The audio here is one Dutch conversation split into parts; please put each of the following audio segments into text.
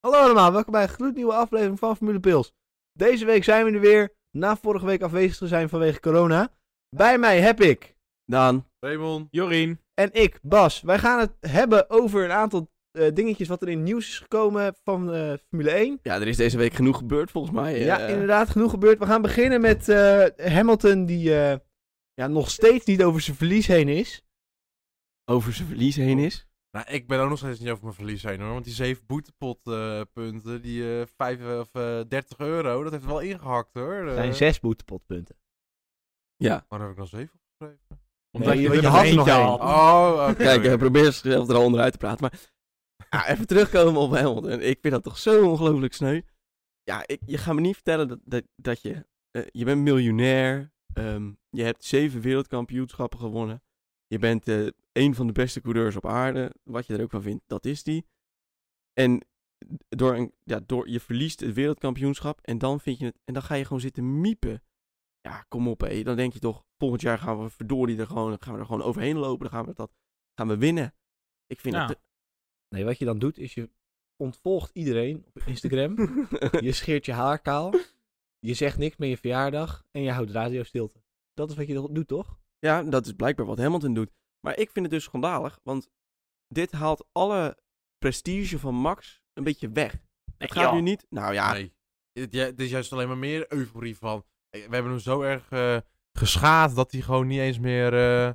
Hallo allemaal, welkom bij een gloednieuwe aflevering van Formule Pils. Deze week zijn we er weer, na vorige week afwezig te zijn vanwege corona. Bij mij heb ik, Daan. Raymond. Jorien. en ik, Bas. Wij gaan het hebben over een aantal eh, dingetjes wat er in het nieuws is gekomen van eh, Formule 1. Ja, er is deze week genoeg gebeurd volgens mij. Ja, eh. inderdaad, genoeg gebeurd. We gaan beginnen met eh, Hamilton, die eh, ja, nog steeds niet over zijn verlies heen is. Over zijn verlies heen is. Nou, ik ben ook nog steeds niet over mijn verlies heen hoor. Want die zeven boetepotpunten, die eh, vijf, eh, of, eh, 30 euro, dat heeft wel ingehakt hoor. Er Eh, zijn zes boetepotpunten. Ja. Waar heb ik nog zeven opgeschreven? Omdat je er nog eentje had. Oh, oké. Kijk, eh, hij probeert zichzelf er al onderuit te praten. Maar ja, even terugkomen op Hamilton. Ik vind dat toch zo ongelooflijk sneu. Ja, ik, je gaat me niet vertellen dat, dat, dat je... eh, je bent miljonair. ehm, je hebt zeven wereldkampioenschappen gewonnen. Je bent eh een van de beste coureurs op aarde. Wat je er ook van vindt, dat is die. En door een, ja, door, je verliest het wereldkampioenschap en dan, vind je het, en dan ga je gewoon zitten miepen. Ja, kom op hé. Dan denk je toch, volgend jaar gaan we verdorie er gewoon, gaan we er gewoon overheen lopen. Dan gaan we dat gaan we winnen. Ik vind Ja. dat... Nee, wat je dan doet is je ontvolgt iedereen op Instagram. Je scheert je haar kaal. Je zegt niks met je verjaardag. En je houdt radio stilte. Dat is wat je doet, toch? ja, dat is blijkbaar wat Hamilton doet. Maar ik vind het dus schandalig, want dit haalt alle prestige van Max een beetje weg. Het gaat joh. nu niet... Nou ja, Nee. Het, ja, het is juist alleen maar meer euforie van. eh, We hebben hem zo erg eh, geschaad dat hij gewoon niet eens meer. eh,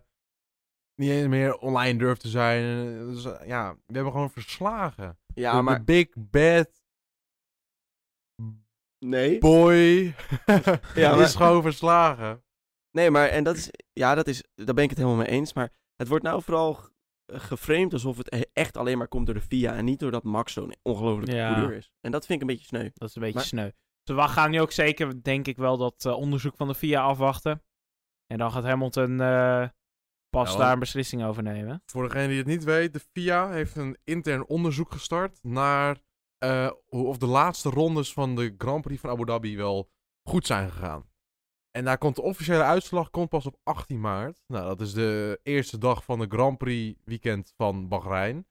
niet eens meer online durft te zijn. Eh, dus, eh, ja, we hebben gewoon verslagen. ja Door de maar... Big Bad Nee. Boy. ja, maar- is gewoon verslagen. Nee, maar en dat is, ja, dat is, daar ben ik het helemaal mee eens. Maar het wordt nou vooral g- geframed alsof het e- echt alleen maar komt door de FIA en niet doordat Max zo'n ongelooflijke Ja. coureur is. En dat vind ik een beetje sneu. Dat is een beetje Maar- sneu. Dus we gaan nu ook zeker, denk ik wel, dat eh, onderzoek van de FIA afwachten. En dan gaat Hamilton eh, Nou, Ja, pas want- daar een beslissing over nemen. Voor degene die het niet weet, de FIA heeft een intern onderzoek gestart naar eh, hoe- of de laatste rondes van de Grand Prix van Abu Dhabi wel goed zijn gegaan. En daar komt de officiële uitslag komt pas op 18 maart. Nou, dat is de eerste dag van de Grand Prix weekend van Bahrein.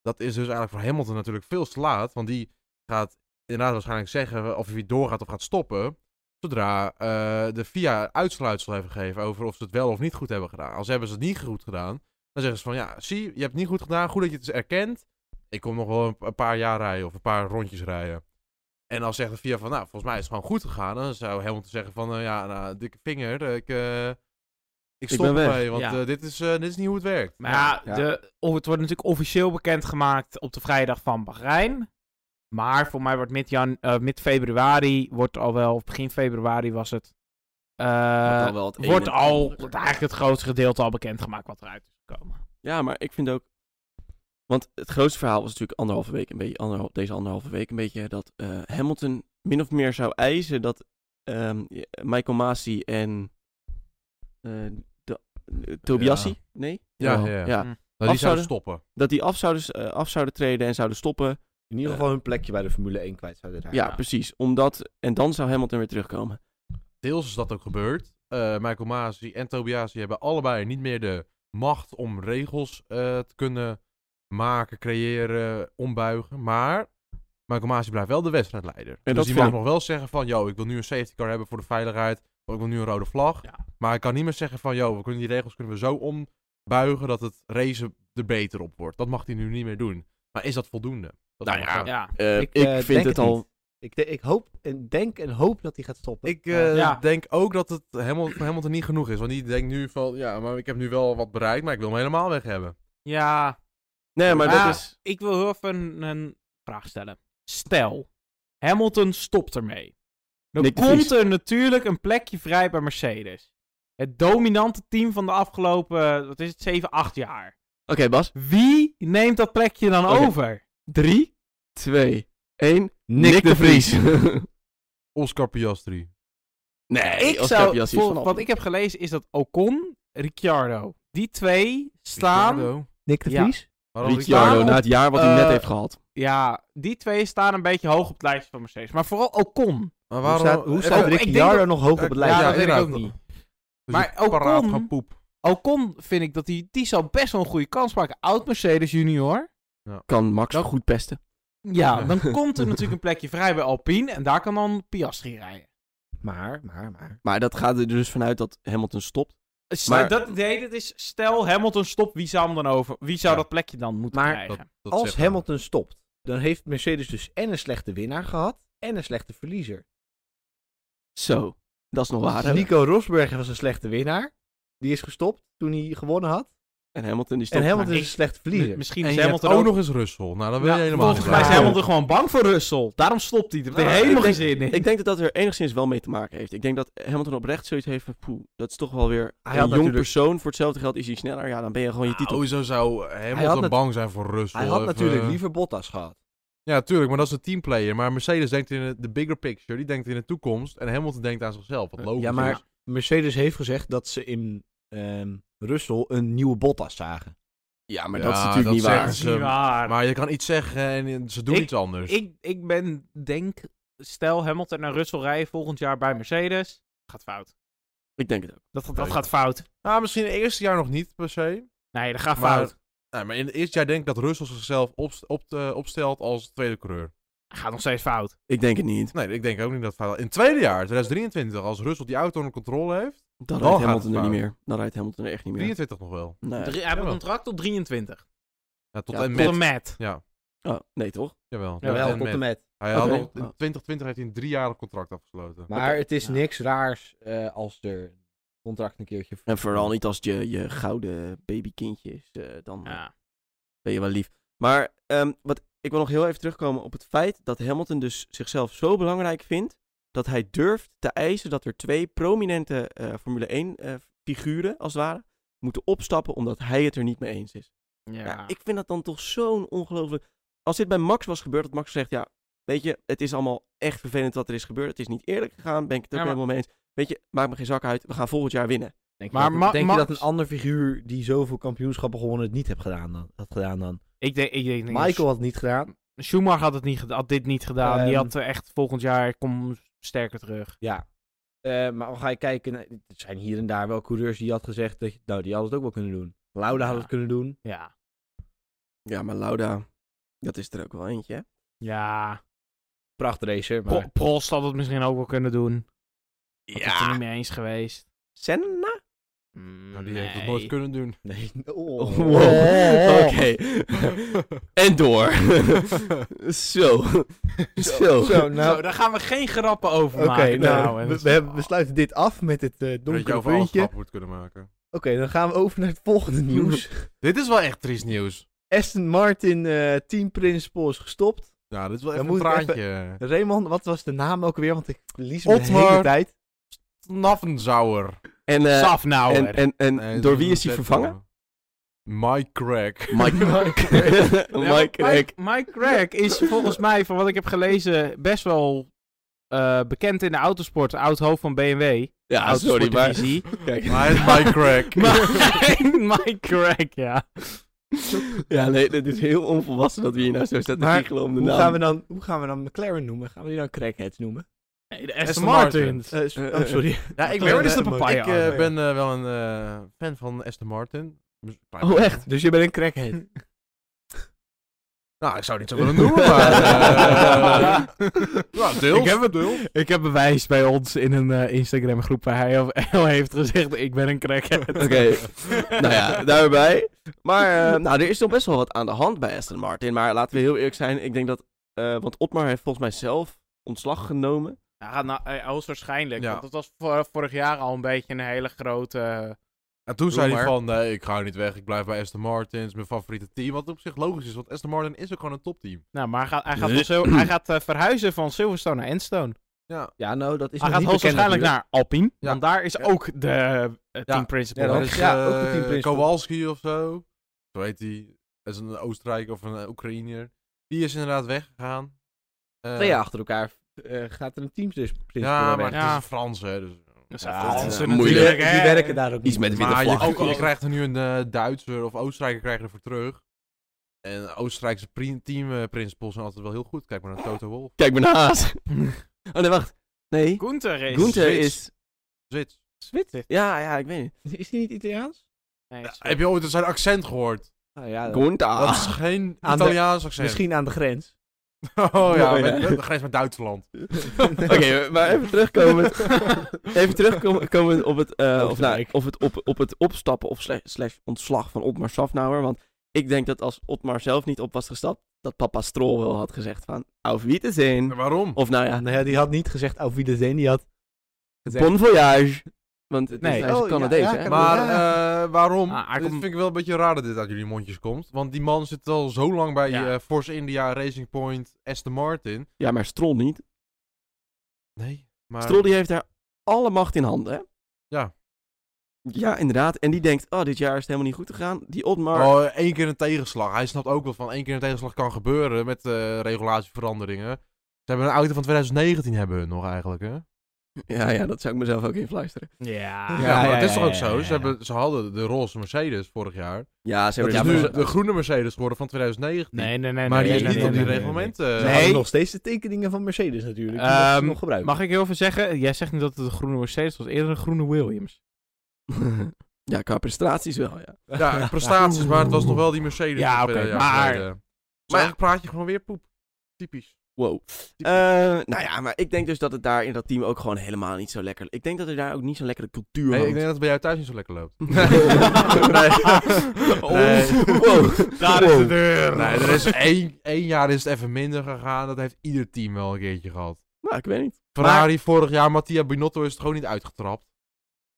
Dat is dus eigenlijk voor Hamilton natuurlijk veel te laat, want die gaat inderdaad waarschijnlijk zeggen of hij doorgaat of gaat stoppen. Zodra eh, de FIA uitsluitsel heeft gegeven over of ze het wel of niet goed hebben gedaan. Als hebben ze het niet goed gedaan, dan zeggen ze van ja, zie, je hebt het niet goed gedaan. Goed dat je het is erkend. Ik kom nog wel een, een paar jaar rijden of een paar rondjes rijden. En dan zegt de VIA van nou, volgens mij is het gewoon goed gegaan. Dan zou Hamilton zeggen van eh, ja, nou, dikke vinger. eh, Ik, eh, ik stop ben weg. ermee, want Ja. eh, dit, is, eh, dit is niet hoe het werkt. Maar ja, Ja. De, of het wordt natuurlijk officieel bekendgemaakt op de vrijdag van Bahrein. Maar voor mij wordt mid-jan- eh, mid-februari, wordt al wel, of begin februari was het, eh, Wordt al wel het een wordt en al ander. eigenlijk het grootste gedeelte al bekendgemaakt wat eruit is gekomen. Ja, maar ik vind ook. Want het grootste verhaal was natuurlijk anderhalve week, een beetje, anderhal- deze anderhalve week, een beetje dat eh, Hamilton min of meer zou eisen dat ehm, Michael Masi en eh, de, eh, Tobiassi, Ja. nee? Ja, Wel, ja, ja. ja. Hm. Nou, die Afzouden- zouden stoppen. Dat die af zouden, s- eh, af zouden treden en zouden stoppen. In ieder Ja. geval hun plekje bij de Formule 1 kwijt zouden raken. Ja, precies. Omdat, en dan zou Hamilton weer terugkomen. Deels is dat ook gebeurd. Eh, Michael Masi en Tobiasi hebben allebei niet meer de macht om regels eh, te kunnen maken, creëren, ombuigen. Maar Michael Masi blijft wel de wedstrijdleider. En dat dus die vond- mag nog wel zeggen van, yo, ik wil nu een safety car hebben voor de veiligheid. Of ik wil nu een rode vlag. Ja. Maar hij kan niet meer zeggen van, yo, we kunnen die regels kunnen we zo ombuigen dat het racen er beter op wordt. Dat mag hij nu niet meer doen. Maar is dat voldoende? Dat Nou is ja, mijn vraag. Ja, Eh, Ik, eh, ik denk vind het het al. niet. Ik, de- ik hoop en denk en hoop dat hij gaat stoppen. Ik eh, Ja. denk ook dat het helemaal, helemaal niet genoeg is. Want die denkt nu van, ja, maar ik heb nu wel wat bereikt, maar ik wil hem helemaal weg hebben. ja Nee, maar Maar- dat is. ik wil heel even een, een vraag stellen. Stel, Hamilton stopt ermee. Dan Nick de komt Vries. er natuurlijk een plekje vrij bij Mercedes. Het dominante team van de afgelopen, eh, wat is het, 7, 8 jaar. Oké, Bas. Wie neemt dat plekje dan Oké. over? 3, 2, 1. Nick de Oscar Piastri. nee, ik als zou, Tobiassi is volgens vanaf. wat ik heb gelezen is dat Ocon, Ricciardo. Die twee staan, Ricciardo. Nick de ja. Vries? Waarom Ricciardo, Waarom- na het jaar wat hij Eh, net heeft gehad. ja, die twee staan een beetje hoog op het lijstje van Mercedes. Maar vooral Ocon. Hoe Maar waarom... eh, oh, staat, hoe staat Even- Rick- Ricciardo dat- nog hoog op het Ja, lijstje? ja, dat weet ik inderdaad. ook niet. Dus maar een paraat Ocon- gaan poep. Ocon vind ik dat die, die zou best wel een goede kans maken. Oud Mercedes junior. Kan Max dat- goed pesten. Ja, dan komt er natuurlijk een plekje vrij bij Alpine. En daar kan dan Piastri rijden. Maar, maar, maar. Maar dat gaat er dus vanuit dat Hamilton stopt. Maar Maar- Eh, dat, nee, dat is stel Hamilton stopt, wie zou hem dan over? Wie zou Ja. dat plekje dan moeten Maar- krijgen? Dat- dat Als zegt hij. Hamilton stopt, dan heeft Mercedes dus en een slechte winnaar gehad en een slechte verliezer. Zo, dat is nog waar. hè? Nico Rosberg was een slechte winnaar. Die is gestopt toen hij gewonnen had. En Hamilton die stopt. en Hamilton maar is ik- een slechte Mi- verliezer. Misschien En is je hebt Hamilton ook ook- nog eens Russell. Nou, dan wil Ja, je helemaal Volgens niet mij is aan. Ja. Hamilton gewoon bang voor Russell. Daarom stopt hij. er Nou, helemaal ik geen denk- zin in. Ik denk dat dat er enigszins wel mee te maken heeft. Ik denk dat Hamilton oprecht zoiets heeft van, poeh, dat is toch wel weer een Hij jong had natuurlijk- persoon. Voor hetzelfde geld is hij sneller. Ja, dan ben je gewoon je titel. Sowieso Oh, zou eh, had Hamilton nat- bang zijn voor Russell. Hij had Even- natuurlijk liever Bottas gehad. Ja, tuurlijk, maar dat is een teamplayer. Maar Mercedes denkt in de- de bigger picture, die denkt in de toekomst. En Hamilton denkt aan zichzelf, wat Ja, logisch maar- is. Mercedes heeft gezegd dat ze in ehm Russell een nieuwe Bottas zagen. Ja, maar Ja, dat is natuurlijk dat niet zegt waar. Dat is niet ehm, waar. Maar je kan iets zeggen en ze doen Ik- iets anders. Ik, ik ben, denk, stel Hamilton naar Russell rijden volgend jaar bij Mercedes. Gaat fout. Ik denk het ook. Dat, dat Nee. gaat fout. Nou, misschien in het eerste jaar nog niet per se. Nee, dat gaat Maar- fout. Nee, maar in het eerste jaar denk ik dat Russell zichzelf op, op, eh, opstelt als tweede coureur. Dat gaat nog steeds fout. Ik denk het niet. Nee, ik denk ook niet dat het fout In het tweede jaar, 2023, als Russell die auto onder controle heeft, Dan Dan rijdt gaat Hamilton het er niet fout. meer. Dan rijdt Hamilton er echt niet meer. 23 nog wel. Nee. Drie- hij heeft een jawel. contract tot 23. Ja, tot Ja, en tot met. Tot en met. Ja, Oh, nee toch? jawel. tot Jawel, en met. met. Hij had Oké. nog- in Oh. 2020 heeft hij een driejarig contract afgesloten. Maar het is Ja. niks raars eh, als er contract een keertje... En vooral niet als het je, je gouden babykindje is. eh, dan Ja. ben je wel lief. Maar ehm, wat, ik wil nog heel even terugkomen op het feit dat Hamilton dus zichzelf zo belangrijk vindt. Dat hij durft te eisen dat er twee prominente eh, Formule 1 eh, figuren, als het ware, moeten opstappen omdat hij het er niet mee eens is. Ja. Ja, ik vind dat dan toch zo'n ongelooflijk. Als dit bij Max was gebeurd, dat Max zegt: Ja, weet je, het is allemaal echt vervelend wat er is gebeurd. Het is niet eerlijk gegaan. Ben ik het ook Ja, maar- helemaal mee eens. Weet je, maakt me geen zak uit. We gaan volgend jaar winnen. Denk, Maar je, Ma- dat, denk je Max- dat een ander figuur die zoveel kampioenschappen gewonnen het niet heeft gedaan dan? Had gedaan dan? Ik denk, ik denk, Michael had het niet gedaan. Schumacher had, het niet, geda- had dit niet gedaan. Die Ehm. had eh, echt volgend jaar, kom sterker terug. Ja. Eh, maar dan ga je kijken, nou, er zijn hier en daar wel coureurs die had gezegd, dat, je- nou die hadden het ook wel kunnen doen. Lauda had Ja. het kunnen doen. Ja. Ja, maar Lauda, dat is er ook wel eentje. hè? Ja. Prachtracer, Pro- maar... Prost had het misschien ook wel kunnen doen. Dat is er niet Ja. mee eens geweest. Senna? Mm, Nou, die heeft het nooit kunnen doen. Nee. Oh, Oh. wow. Oké. en door. Zo. Zo. Zo, Nou, nou... daar gaan we geen grappen over Oké, maken. Oh. nou, en we, dat is- we hebben- we sluiten dit af met het eh Dat je donkere overal puntje. grap moet kunnen maken. Oké, dan gaan we over naar het volgende nieuws. Dit is wel echt triest nieuws. Aston Martin eh Team Principal is gestopt. Ja, dit is wel Dan echt een moet ik traantje. Raymond, wat was de naam ook weer? Want ik verlies me de Otmar. hele tijd. Knaffenzauer. En, eh, Saf nou. en, en, en Nee, dat door is wie een is hij vet vervangen? jongen. Mike Crack. Mike. Mike. Mike Crack. Mike Crack is volgens mij, van wat ik heb gelezen, best wel eh, bekend in de autosport. Oud hoofd van BMW. Ja, sorry, maar... Autosportdivisie. Kijk. Maar hij is Mike Crack. Maar Mike Crack, ja. Ja, nee, dit is heel onvolwassen dat we hier nou zo staan te Maar giechelen om de Hoe naam. gaan, we dan, hoe gaan we dan McLaren noemen? Gaan we die dan Crackheads noemen? Nee, de Aston Aston Martin. Martins. Eh, s- oh, sorry. Ja, ik Clever ben, is de eh, papaya. ik eh, ben eh, wel een eh, fan van Aston Martin. Oh, echt? Dus je bent een crackhead. Nou, ik zou het niet zo willen noemen, maar... eh, ja, deels. Ik heb het- deels. Ik heb bewijs bij ons in een eh, Instagram-groep waar hij of El heeft gezegd: Ik ben een crackhead. Oké, nou ja, daarbij. Maar eh, nou, er is nog best wel wat aan de hand bij Aston Martin. Maar laten we heel eerlijk zijn, ik denk dat... eh, want Otmar heeft volgens mij zelf ontslag genomen. Ja, nou, eh, hoogstwaarschijnlijk. Ja. Want dat was vor- vorig jaar al een beetje een hele grote. eh, En toen zei hij maar. van, nee, ik ga niet weg, ik blijf bij Aston Martin, het is mijn favoriete team. Wat op zich logisch is, want Aston Martin is ook gewoon een topteam. nou, maar hij gaat, hij gaat, van Sil- hij gaat eh, verhuizen van Silverstone naar Enstone. Ja, Ja, nou, dat is hij nog gaat niet bekend hoogstwaarschijnlijk natuurlijk. naar Alpine. Ja. Want daar is Ja. ook de eh, team Ja. principal. Ja, dat Er is- is, ja, eh, ook een team principal. Kowalski of zo, zo heet hij. Dat is een Oostenrijker of een eh, Oekraïner. Die is inderdaad Oh weggegaan. Eh, Twee jaar achter elkaar eh, gaat er een team dus Ja, maar weg. het Ja. is een Frans, hè. Dus... Dat Ja, zijn Fransen dat is, eh, natuurlijk, moeilijk. Die hè. werken daar ook niet. Iets met witte Maar je, vlag. ook, al- je krijgt er nu een eh, Duitser of Oostenrijker krijg je ervoor terug. En Oostenrijkse teamprincipals zijn altijd wel heel goed. Kijk maar naar Toto Wolff. Kijk maar naar Haas. Oh nee, wacht. Nee, Gunther is. Gunther Zwits. is... Zwits. Zwits? Ja, ja, ik weet niet. Is die niet Italiaans? Nee, Ja, heb je ooit zijn accent gehoord? Nou ja, Gunther. Dat is geen Aan de- Italiaans accent. misschien aan de grens. Oh ja, Oh, ja. met- met de grens met Duitsland. Oké, maar even terugkomen. even terugkomen op het, eh, of, nou, Oostenrijk. of het, op, op het opstappen of slash, slash ontslag van Otmar Safnauer. Want ik denk dat als Otmar zelf niet op was gestapt, dat papa Strol wel had gezegd van... Auf Wiedersehen. Waarom? Of nou ja, Nou ja, die had niet gezegd auf Wiedersehen, die Eh, had gezegd... bon voyage. Want het Nee. is, hij is Oh, een Canadees, ja, ja, hè? Canada- Maar Ja. eh, waarom? Ah, hij dit komt- vind ik wel een beetje raar dat dit uit jullie mondjes komt. Want die man zit al zo lang bij Ja. eh, Force India, Racing Point, Aston Martin. Ja, maar Strol niet. Nee. Maar... Strol die heeft daar alle macht in handen, hè? Ja. Ja, inderdaad. En die denkt, oh, dit jaar is het helemaal niet goed gegaan. Die Otmar... Oh, één keer een tegenslag. Hij snapt ook wel van één keer een tegenslag kan gebeuren met eh, regulatieveranderingen. Ze hebben een auto van 2019 hebben hun nog eigenlijk, hè? Ja, ja, dat zou ik mezelf ook in fluisteren. Ja, Ja, maar het is toch ook zo? Ze, hebben, ze hadden de roze Mercedes vorig jaar. Ja, ze Dat hebben is daar nu voor- de groene Mercedes geworden van 2019. Nee, nee, nee. maar nee, die is nee, niet nee, op die nee, nee. reglementen. Ze eh, Nee. hadden nog steeds de tekeningen van Mercedes natuurlijk. Die mochten ze Ehm, nog gebruiken. Mag ik heel veel zeggen? Jij zegt niet dat het een groene Mercedes was, eerder een groene Williams. ja, qua prestaties wel, ja. Ja, prestaties, maar het was nog wel die Mercedes. Ja, van oké, twee jaar maar- geleden. Dus eigenlijk praat je gewoon weer poep. Typisch. Wow. Eh, nou ja, maar ik denk dus dat het daar in dat team ook gewoon helemaal niet zo lekker... Ik denk dat er daar ook niet zo'n lekkere cultuur Nee, ik hangt. denk dat het bij jou thuis niet zo lekker loopt. Nee. Nou, Nee. Oh. Wow. Daar is de deur. Nee, er is één, één jaar is het even minder gegaan. Dat heeft ieder team wel een keertje gehad. Nou, ik weet niet. Ferrari vorig jaar, Mattia Binotto is het gewoon niet uitgetrapt.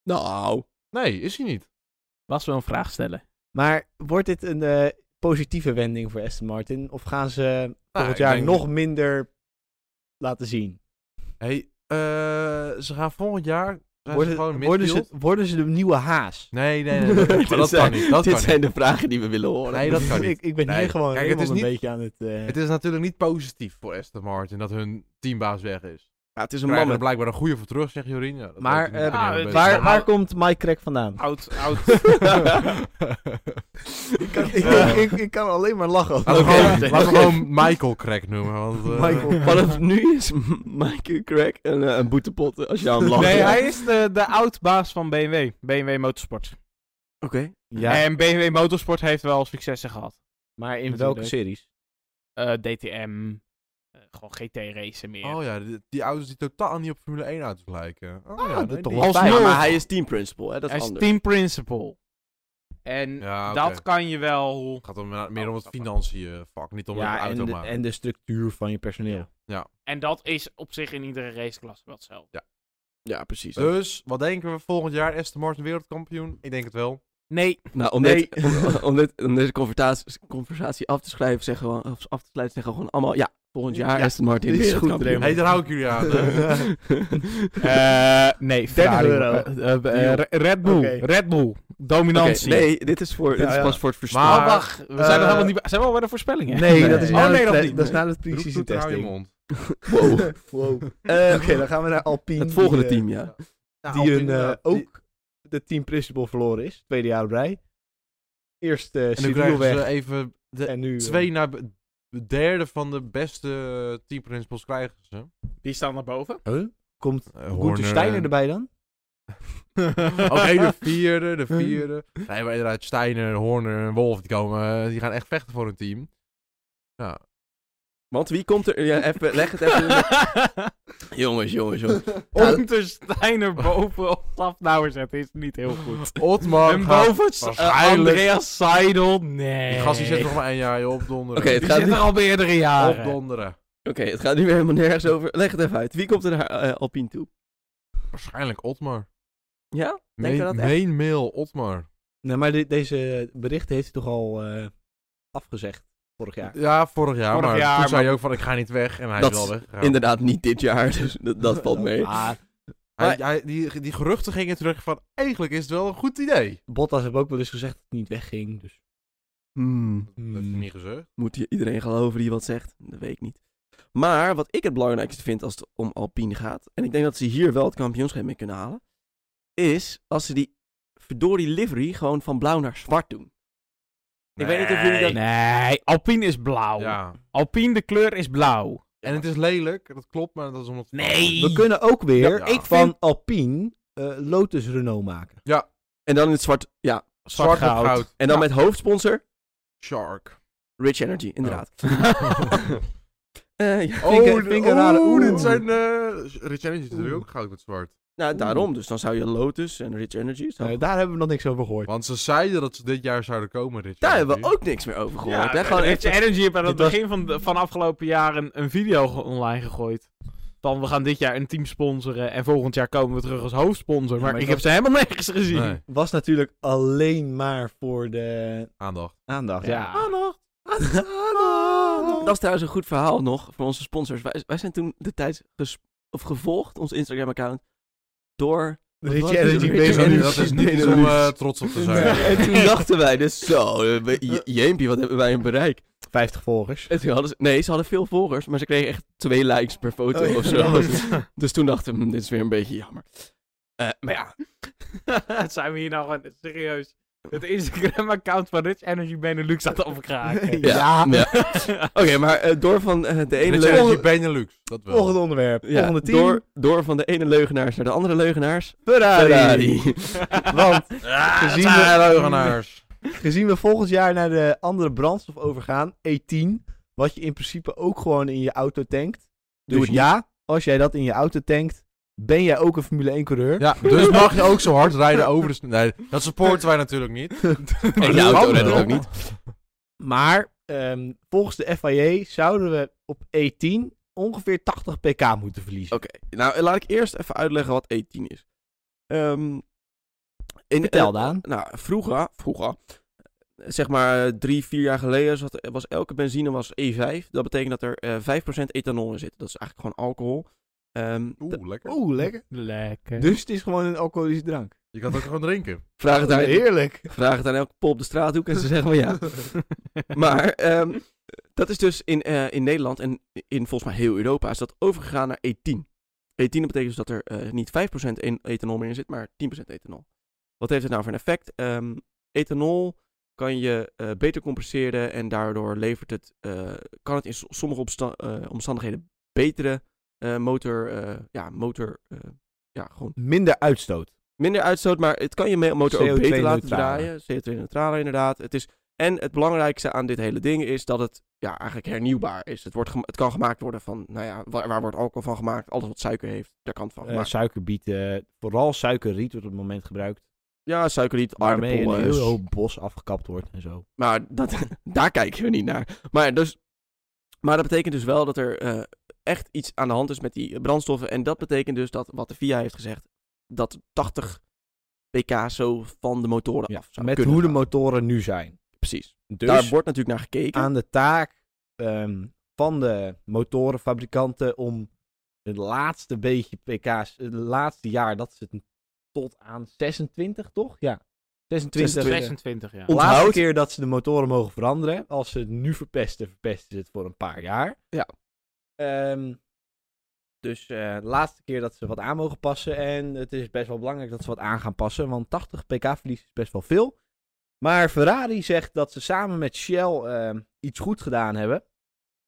Nou, Nee, is hij niet. Was wel een vraag stellen. Maar wordt dit een eh, positieve wending voor Aston Martin? Of gaan ze volgend Nou, ik jaar denk- nog minder laten zien? Hey, eh, ze gaan volgend jaar. Zijn ze gewoon Worden, worden, ze, midfield? worden ze de nieuwe haas? Nee, nee, nee. nee, nee, maar dat kan niet. Dat dit kan niet. zijn de vragen die we willen horen. Nee, dat kan niet. ik, ik ben Nee. hier gewoon Kijk, het helemaal is een niet- beetje aan het... eh, Het is natuurlijk niet positief voor Aston Martin dat hun teambaas weg is. Ja, het is Ze een krijgen er man blijkbaar een goede voor terug, zegt Jorien. Ja, dat Maar, weet ik niet. eh, Ik ben ja, helemaal het- waar, bezig. waar komt Mike Crack vandaan? Oud, oud. Ik kan, ik, Eh. ik, ik kan alleen maar lachen. Laten we Oké. gewoon- Laten we gewoon Michael Crack noemen. Want, eh, Michael. Vanaf nu is Mike Crack een, eh, een boetepot eh, als je aan hem lacht. Nee, hij is de, de oud-baas van BMW. BMW Motorsport. Oké. Ja, En BMW Motorsport heeft wel successen gehad. maar in Natuurlijk. welke series? Eh, DTM, eh, gewoon GT-racen meer. Oh ja, die, die auto's die totaal niet op Formule 1 auto's lijken. Oh, ja, Ah, dat nee, toch die- wel. Ja, Alsnog. maar hij is team principal, hè? Dat Hij is is anders. team principal. En Ja, oké. dat kan je wel... Het gaat om, na- meer om het financiën vak, niet om het Ja, en auto de, maken. en de structuur van je personeel. En dat is op zich in iedere raceklasse wel hetzelfde. Ja, precies. Dus, wat denken we volgend jaar? Aston Martin wereldkampioen? Ik denk het wel. Nee, nou, om, nee. dit, om, om dit, om deze conversatie, conversatie af te schrijven, zeggen we, of af te sluiten, zeggen we gewoon allemaal, ja, volgend jaar Ja, Aston Martin dit is is goed, goed. Raymond. hey, daar hou ik jullie aan. hè. Eh, nee, Ferrari. euro. Eh, eh, eh, Re- Red Bull. Oké. Red Bull. Dominantie. nee, dit is, voor, dit Ja, is ja. pas voor het verstaan. Maar- Oh, wacht. We Eh, zijn nog helemaal niet... bij- Zijn we al bij de voorspellingen? Nee, dat is Oh, na nee, de, dat pre- niet. dat is na de Roep, pre-season toet, hou je testing. mond. Wow. Wow. Eh, Oké, dan gaan we naar Alpine. het volgende eh, team, ja. die Alpine, hun, eh, ja, die- ook de team principal verloren is. Tweede jaar op rij. Eerst eh En nu Cyril krijgen weg. ze even de en nu eh, twee naar be- de derde van de beste teamprincipals krijgen ze. Die staan naar boven. komt Eh, Gunther Horner Steiner en- erbij dan. Oké, de vierde, de vierde. Nee, maar inderdaad, Steiner, Horner en Wolf, die, komen, eh, die gaan echt vechten voor hun team. Ja. Want wie komt er... Ja, even, leg het even... Eh, jongens, jongens, jongens. Onder Steiner boven op Safnauer zetten is niet heel goed. Otmar en gaat- boven S- eh, Oh, waarschijnlijk- Andreas Seidel. Nee. Die gast die zit nog maar één jaar je opdonderen. Oké, het Die gaat zit nu- er al meerdere jaren. Opdonderen. Oké, het gaat nu weer helemaal nergens over. Leg het even uit. Wie komt er naar eh, Alpine toe? Waarschijnlijk Otmar. Ja? Denk Main, je dat echt? main mail Otmar. Nee, maar de- deze berichten heeft hij toch al eh, afgezegd vorig Ja, jaar. vorig jaar. Vorig maar jaar, toen zei maar- hij ook van, ik ga niet weg. En hij Dat is wel is weggegaan. Inderdaad, niet dit jaar, dus dat, dat valt mee. Maar Hij, hij- die, die geruchten gingen terug van, eigenlijk is het wel een goed idee. Bottas heeft ook wel eens gezegd dat hij niet wegging. Dus. Hmm, Dat heeft hij niet gezegd. moet je iedereen geloven die wat zegt? Dat weet ik niet. Maar wat ik het belangrijkste vind als het om Alpine gaat, en ik denk dat ze hier wel het kampioenschap mee kunnen halen, is als ze die verdorie livery gewoon van blauw naar zwart doen. Ik weet niet of jullie dat... Nee, Alpine is blauw. Ja. Alpine, de kleur is blauw. En het is lelijk, dat klopt, maar dat is omdat... Nee. We kunnen ook weer Ja, ik van vind- Alpine eh, Lotus Renault maken. En dan in het zwart, ja. Zwart op goud. En dan met hoofdsponsor Oh. Shark. Oh, Rich Energy, inderdaad. Eh, ja. Vind ik- vind ik een rare oeh, oeh. dit zijn... eh Rich Energy oh. is natuurlijk ook goud met zwart. Nou, Oeh. daarom. Dus dan zou je Lotus en Rich Energy... zou- Nee, Eh, daar hebben we nog niks over gehoord. Want ze zeiden dat ze dit jaar zouden komen, Rich Daar Energy. hebben we ook niks meer over gehoord. hè? Gewoon Rich echt- Energy heeft aan het dit was- begin van, de- van afgelopen jaar een, een video ge- online gegooid. Van we gaan dit jaar een team sponsoren en volgend jaar komen we terug als hoofdsponsor. Maar, maar ik ik heb ze helemaal nergens gezien. Nee, Was natuurlijk alleen maar voor de aandacht. aandacht. Ja. Aandacht. Ah, Oh. Dat is trouwens een goed verhaal nog voor onze sponsors. Wij, wij zijn toen de tijd ges- of gevolgd, ons Instagram-account, door... Rich Wat Energy Rich Baby. Energy. dat is niet Energy. om eh, trots op te Oh, zijn. En toen dachten wij dus, zo, eh, we- je- jeempie, wat hebben wij een bereik. 50 volgers. En toen hadden ze, nee, ze hadden veel volgers, maar ze kregen echt twee likes per foto Oh ja, of dat zo. Dus toen dachten we, hm, dit is weer een beetje jammer. Eh, maar ja, zijn we hier nou gewoon serieus? Het Instagram-account van Rich Energy Benelux had overgekraken. Ja. ja. Oké, maar eh, door van eh, de ene Rich leugen... Energy Benelux, dat wel. Volgende onderwerp. Ja, Volgende team. door, door van de ene leugenaars naar de andere leugenaars. Ferrari. Ferrari. Want Ah, gezien dat we- zijn leugenaars. gezien we volgend jaar naar de andere brandstof overgaan, E10, wat je in principe ook gewoon in je auto tankt. Doe Dus het niet. ja, als jij dat in je auto tankt, ben jij ook een Formule 1 coureur. Ja, dus mag je ook zo hard rijden over de... sne- Nee, dat supporten wij natuurlijk niet. En dat de auto kan redden we wel. ook niet. Maar ehm, volgens de FIA zouden we op E10 ongeveer 80 pk moeten verliezen. Oké, nou laat ik eerst even uitleggen wat E10 is. Ehm in, Vertel, eh, Daan. nou, vroeger, vroeger, eh, zeg maar eh, drie, vier jaar geleden, zat, was elke benzine was E5. Dat betekent dat er eh 5% ethanol in zit. Dat is eigenlijk gewoon alcohol. Ehm, de- Oeh, lekker. Oeh, lekker. Lekker. Dus het is gewoon een alcoholische drank. Je kan het ook gewoon drinken. vraag, het aan, Heerlijk. vraag het aan elke pol op de straathoek en ze zeggen van ja. maar ehm, dat is dus in, eh, in Nederland en in volgens mij heel Europa is dat overgegaan naar E E10. E10 betekent dus dat er eh, niet 5% en- ethanol meer in zit, maar 10% ethanol. Wat heeft het nou voor een effect? Ehm, ethanol kan je eh, beter compenseren en daardoor levert het, eh, kan het in so- sommige omsta- eh, omstandigheden betere eh, motor, eh, ja, motor, eh, ja, gewoon Minder uitstoot. minder uitstoot, maar het kan je me- motor ook CO2 beter laten neutraler. draaien. CO2-neutraler inderdaad. Het is, en het belangrijkste aan dit hele ding is dat het ja, eigenlijk hernieuwbaar is. Het, wordt gema- het kan gemaakt worden van, nou ja, waar, waar wordt alcohol van gemaakt? Alles wat suiker heeft, daar kan het van Eh, gemaakt. suikerbiet, eh, vooral suikerriet wordt op het moment gebruikt. ja, suikerriet, Waarmee een aardappelen. heel s- hoop bos afgekapt wordt en zo. Maar dat, daar kijken we niet naar. Maar, dus, maar dat betekent dus wel dat er eh, echt iets aan de hand is met die brandstoffen. En dat betekent dus dat, wat de VIA heeft gezegd, dat 80 pk zo van de motoren Ja, af zou met kunnen hoe de gaan. motoren nu zijn. Precies. Dus Daar wordt natuurlijk naar gekeken. aan de taak ehm, van de motorenfabrikanten om het laatste beetje pk's, het laatste jaar, dat is het tot aan 26 toch? Ja, 26. 26. 26, ja. De laatste Onthoud. keer dat ze de motoren mogen veranderen. Als ze het nu verpesten, verpesten ze het voor een paar jaar. Ja. Ehm, dus eh, de laatste keer dat ze wat aan mogen passen. En het is best wel belangrijk dat ze wat aan gaan passen. Want 80 pk verlies is best wel veel. Maar Ferrari zegt dat ze samen met Shell ehm, iets goed gedaan hebben.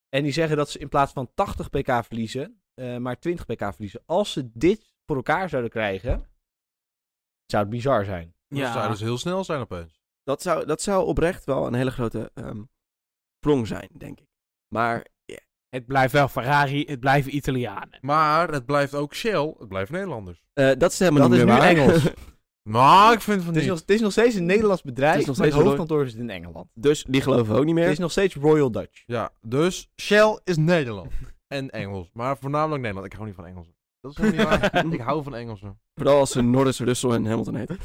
En die zeggen dat ze in plaats van 80 pk verliezen, eh, maar 20 pk verliezen. Als ze dit voor elkaar zouden krijgen, zou het bizar zijn. Ja. Dat zou dus heel snel zijn opeens. Dat, zou, dat zou oprecht wel een hele grote ehm prong zijn, denk ik. Maar ja, Het blijft wel Ferrari, het blijven Italianen. Maar het blijft ook Shell, het blijft Nederlanders. eh, dat is helemaal Dat niet is meer nu waar. Engels. Maar ik vind van Het niet. is, nog, het is nog steeds een Nederlands bedrijf, Het is nog maar het steeds een- hoofdkantoor is in Engeland. dus die geloven we ook niet Het meer. is nog steeds Royal Dutch. Ja, dus Shell is Nederland. en Engels. Maar voornamelijk Nederland. Ik hou niet van Engelsen. Dat is helemaal niet waar. ik hou van Engelsen. Vooral als ze Norris, Russell en Hamilton heten.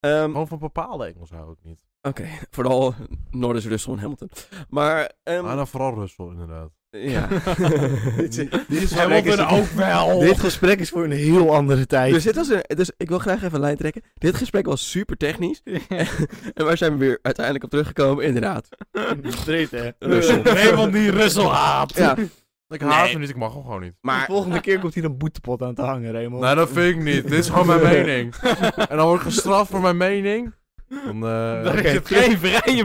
Ehm, Gewoon van bepaalde Engelsen hou ik niet. Oké, vooral Norris, Russell en Hamilton. Maar, ehm, Maar dan vooral Russel, inderdaad. ja. Die is Hamilton ook wel. Dit gesprek is voor een heel andere tijd. Dus, dit was een, dus ik wil graag even een lijn trekken. Dit gesprek was super technisch. en waar zijn we weer uiteindelijk op teruggekomen? Inderdaad. Russell. Raymond die Russell haat. Ja, Ik haat Nee. hem niet, ik mag hem gewoon niet. de maar volgende keer komt hier een boetepot aan te hangen, Raymond. Nee, Nou, dat vind ik niet. Dit is gewoon mijn mening. en dan word ik gestraft voor mijn mening. Dan, eh, Dan is het terug- geen vrije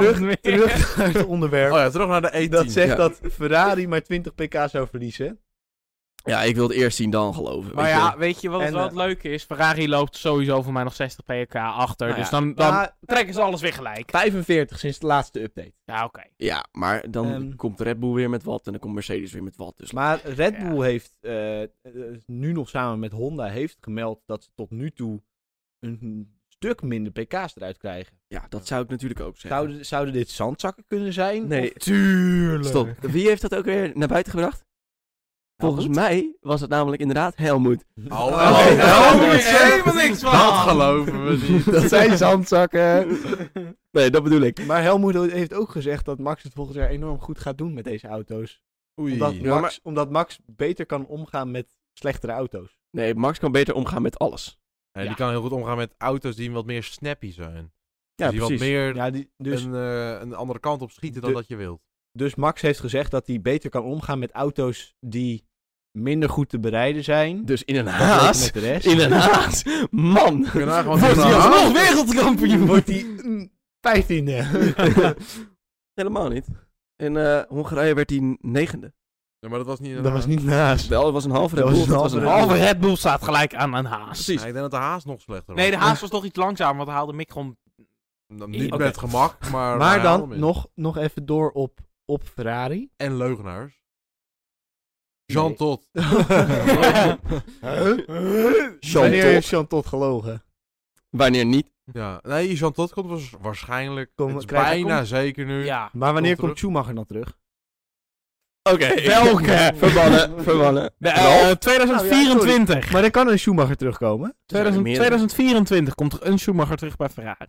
terug- meer. Terug naar het Oh onderwerp. ja, terug naar de E10. dat zegt ja. dat Ferrari maar 20 pk zou verliezen. Ja, ik wil het eerst zien dan geloven. Maar weet je. ja, weet je wat het En, wel het eh, leuke is? Ferrari loopt sowieso voor mij nog 60 pk achter. Nou dus ja, dan, dan Ja, trekken ze alles weer gelijk. 45 sinds de laatste update. Ja, oké. Ja, maar dan Ehm. komt Red Bull weer met wat en dan komt Mercedes weer met wat. Dus Maar Red Ja. Bull heeft eh, eh, nu nog samen met Honda heeft gemeld dat ze tot nu toe een stuk minder pk's eruit krijgen. ja, dat zou ik natuurlijk ook zeggen. Zouden, zouden dit zandzakken kunnen zijn? Nee, Of- tuurlijk. Stop. Wie heeft dat ook weer naar buiten gebracht? Nou, Volgens mij was het namelijk inderdaad Helmoet. Oh, Hallo, oh, Oké, daar Helmoet. moet ik helemaal niks van. Dat geloven we niet. dat zijn zandzakken. nee, dat bedoel ik. Maar Helmoet heeft ook gezegd dat Max het volgend jaar enorm goed gaat doen met deze auto's. Oei. Omdat Ja, Max, omdat Max beter kan omgaan met slechtere auto's. Nee, Max kan beter omgaan met alles. Ja, Ja. Die kan heel goed omgaan met auto's die wat meer snappy zijn. Ja, dus die precies. wat meer Ja, die, dus, een, eh, een andere kant op schieten dan De- dat je wilt. dus Max heeft gezegd dat hij beter kan omgaan met auto's die minder goed te bereiden zijn. Dus in een Dat weten haas. Met de rest. In een haas. Man. Kun je nagaan wat Wordt die hij haas- alsnog wereldkampioen? Wordt hij mm, 15e. Helemaal niet. In eh, Hongarije werd hij negende. Ja, maar dat was niet... Dat was niet naast. Wel, het was een halve Red Dat was Bull, een dat was een halve halve. Halve Red Bull staat gelijk aan een haas. Ja, Precies. ik denk dat de haas nog slechter Nee, de was. haas was nog iets langzamer, want hij haalde Mick gewoon... Nou, Niet Oké. met gemak, maar... Maar eh, hij dan haalde hem in. nog, nog even door op, op Ferrari. En leugenaars. Jean Nee. Todt. Wanneer Chantal. heeft Jean Todt gelogen? Wanneer niet? Ja. Nee, Jean Todt komt waars- waarschijnlijk... Kom- het is krijg- bijna kom- zeker nu. Ja. Maar wanneer Komt komt terug. Schumacher dan terug? Oké. Welke? Verbannen, verbannen. De, eh, Ralf? 2024. Maar dan kan een Schumacher terugkomen. 2000- meerdere. 2024 komt er een Schumacher terug bij Ferrari.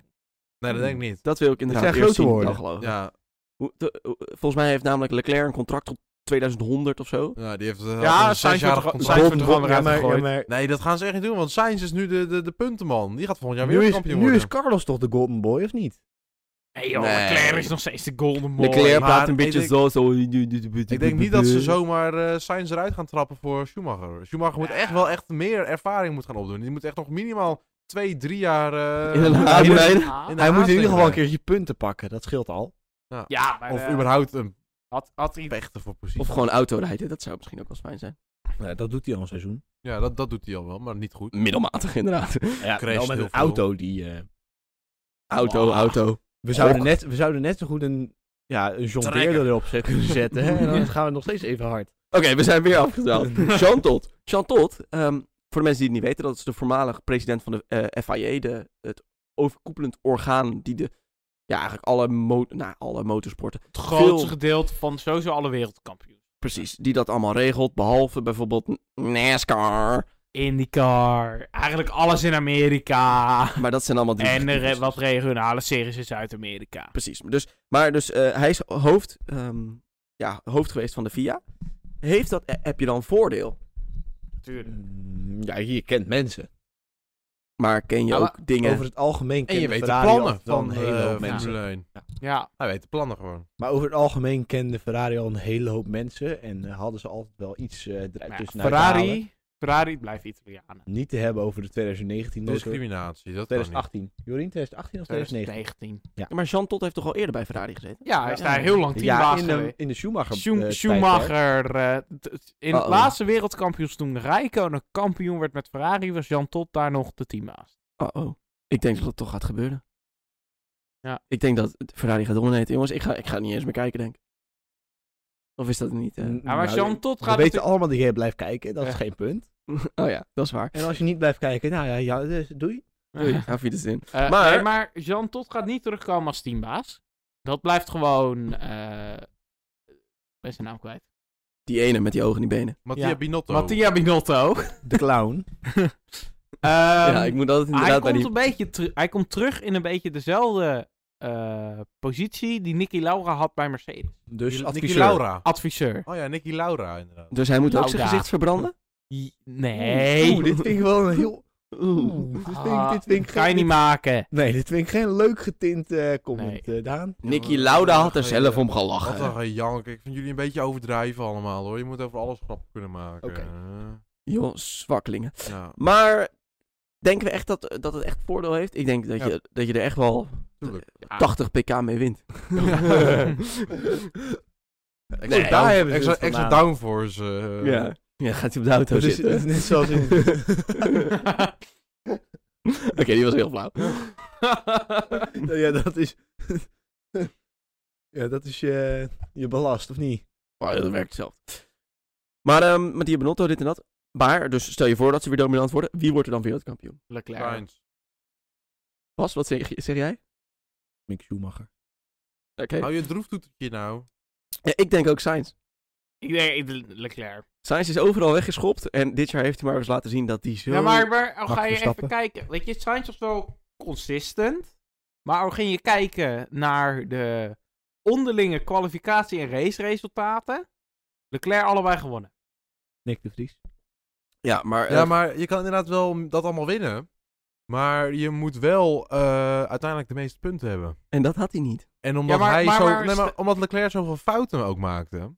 Nee, dat denk ik niet. Dat wil ik inderdaad zijn eerst grote zien, woorden. dan geloof ik. Ja. Hoe- de- hoe- Volgens mij heeft namelijk Leclerc een contract tot 2100 of zo. ja, die heeft eh, Ja, al een Sainz wordt zesjarig er- contract. Sainz wordt er gewoon weer Ja, maar- uitgegooid. ja, maar Nee, dat gaan ze echt niet doen, want Sainz is nu de, de, de puntenman. Die gaat volgend jaar nu, weer is, kampioen nu worden. is Carlos toch de golden boy, of niet? Nee joh, Nee. Leclerc is nog steeds de golden boy. Leclerc praat maar een beetje ik zo, zo. Ik denk niet dat ze zomaar eh Sainz eruit gaan trappen voor Schumacher. Schumacher moet Ja. echt wel echt meer ervaring moet gaan opdoen. Die moet echt nog minimaal twee, drie jaar... eh, In een in haas de- rijden. in de Hij moet haas in ieder geval een tegen. keertje punten pakken, dat scheelt al. Ja, maar, Of eh, überhaupt een had, had hij... vechten voor positie. Of gewoon auto rijden, dat zou misschien ook wel eens fijn zijn. dat doet hij al een seizoen. Ja, dat, dat doet hij al wel, maar niet goed. Middelmatig inderdaad. Ja, Crasht wel met een heel veel. auto die... eh, Auto, Wow. auto. we, zouden Gok. net, we zouden net zo goed een, ja, een John Trekker. Deere erop zet- kunnen zetten. hè, en dan gaan we nog steeds even hard. Oké, we zijn weer afgedwaald. Jean Todt. Jean Todt, ehm, voor de mensen die het niet weten, dat is de voormalig president van de eh, FIA, de, het overkoepelend orgaan die de, ja, eigenlijk alle, mo nou, alle motorsporten, Het grootste veel- gedeelte van sowieso alle wereldkampioen. precies, die dat allemaal regelt, behalve bijvoorbeeld NASCAR. IndyCar, eigenlijk alles in Amerika. Maar dat zijn allemaal drie En er, eh, verschillende wat regionale series in Zuid-Amerika. Precies. Dus, maar dus eh, hij is hoofd, ehm, ja, hoofd geweest van de FIA. Heeft dat, eh, heb je dan voordeel? Natuurlijk. Hmm. Mm, Ja, je kent mensen. Maar ken je Nou, Ja, ook dingen... Over het algemeen En kent je weet de Ferrari al plannen wel van een hele hoop eh, mensen. Formule 1. Ja. Hij weet de plannen gewoon. Maar over het algemeen kende Ferrari al een hele hoop mensen. En eh, hadden ze altijd wel iets eh eruit Nou ja, tussenuit te halen. Ferrari, Ferrari blijft Italianen. Niet te hebben over de dus, 2019 motor. Discriminatie, dat kan niet. 2018. eh, Jorien, 2018 of 2019? 2019. Ja, maar Jean Todt heeft toch al eerder bij Ferrari gezeten? Ja, hij is Ja. daar heel lang Ja, teambaas in geweest. de, in de Schumacher. Schum- eh, tijdperk. Schumacher. eh, t- t- in het Uh-oh. laatste wereldkampioens toen Rijkonen kampioen werd met Ferrari, was Jan Todt daar nog de teambaas. Oh, oh. Ik denk dat dat toch gaat gebeuren. Ja. Ik denk dat Ferrari gaat domineren. Jongens, ik ga, ik ga niet eens meer kijken, denk ik. Of is dat niet... eh? N- Ja, maar nou, Jan Todt We weten gaat natuurlijk- allemaal dat jij blijft kijken, dat is Ja. geen punt. oh ja, dat is waar. En als je niet blijft kijken, nou ja, ja dus doei. Doei, hou je de zin. Eh, Maar- nee, maar Jan Todt gaat niet terugkomen als teambaas. Dat blijft gewoon... eh ben zijn naam kwijt. Die ene met die ogen en die benen. Mattia Ja. Binotto. Mattia Binotto. De clown. ja, ik moet altijd Ehm, hij, inderdaad bij komt die... een beetje teru- hij komt terug in een beetje dezelfde eh, positie die Nicky Laura had bij Mercedes. Dus Nicky adviseur. Laura. Adviseur. Oh ja, Nicky Laura inderdaad. Dus hij moet ook Lauda. zijn gezicht verbranden? I- Nee. Oeh, dit vind ik wel een heel... Oeh. Oeh, dit vind ik, Ah, dit vind ik Ga je geen- niet maken. Nee, dit vind ik geen leuk getint eh, comment, eh, Daan. Nicky Lauda had er zelf om Wat gelachen. een gejank. Ik vind jullie een beetje overdrijven allemaal hoor. Je moet over alles grappen kunnen maken. Oké. Eh, Joh, zwakkelingen. ja, Maar denken we echt dat, dat het echt voordeel heeft? Ik denk dat, Ja. je, dat je er echt wel tuurlijk. 80 pk mee wint. Extra Nee, down- daar hebben ze extra, het oh. extra vandaan. downforce. eh, Ja. Ja, gaat hij op de auto Dus- zitten. net zoals in- Oké, die was heel flauw. ja, dat is. ja, dat is je, je belast, of niet? Maar dat werkt zelf. Maar ehm, met die Benotto, dit en dat. Maar, dus stel je voor dat ze weer dominant worden. Wie wordt er dan wereldkampioen? Leclerc. Sainz. Bas, wat zeg, zeg jij? Mick Schumacher. Oké. Hou je droeftoetertje nou. Ja, ik denk ook Sainz. Ik denk ik- Leclerc. Sainz is overal weggeschopt. En dit jaar heeft hij maar eens laten zien dat hij zo... Ja, maar, maar al Max ga je even Verstappen. kijken. Weet je, Sainz was wel consistent. Maar al ging je kijken naar de onderlinge kwalificatie- en raceresultaten. Leclerc allebei gewonnen. Nick de Vries. Ja, maar... Ja, eh, maar je kan inderdaad wel dat allemaal winnen. Maar je moet wel eh, uiteindelijk de meeste punten hebben. En dat had hij niet. En omdat maar- hij maar- zo. maar- nee, maar omdat Leclerc zoveel fouten ook maakte.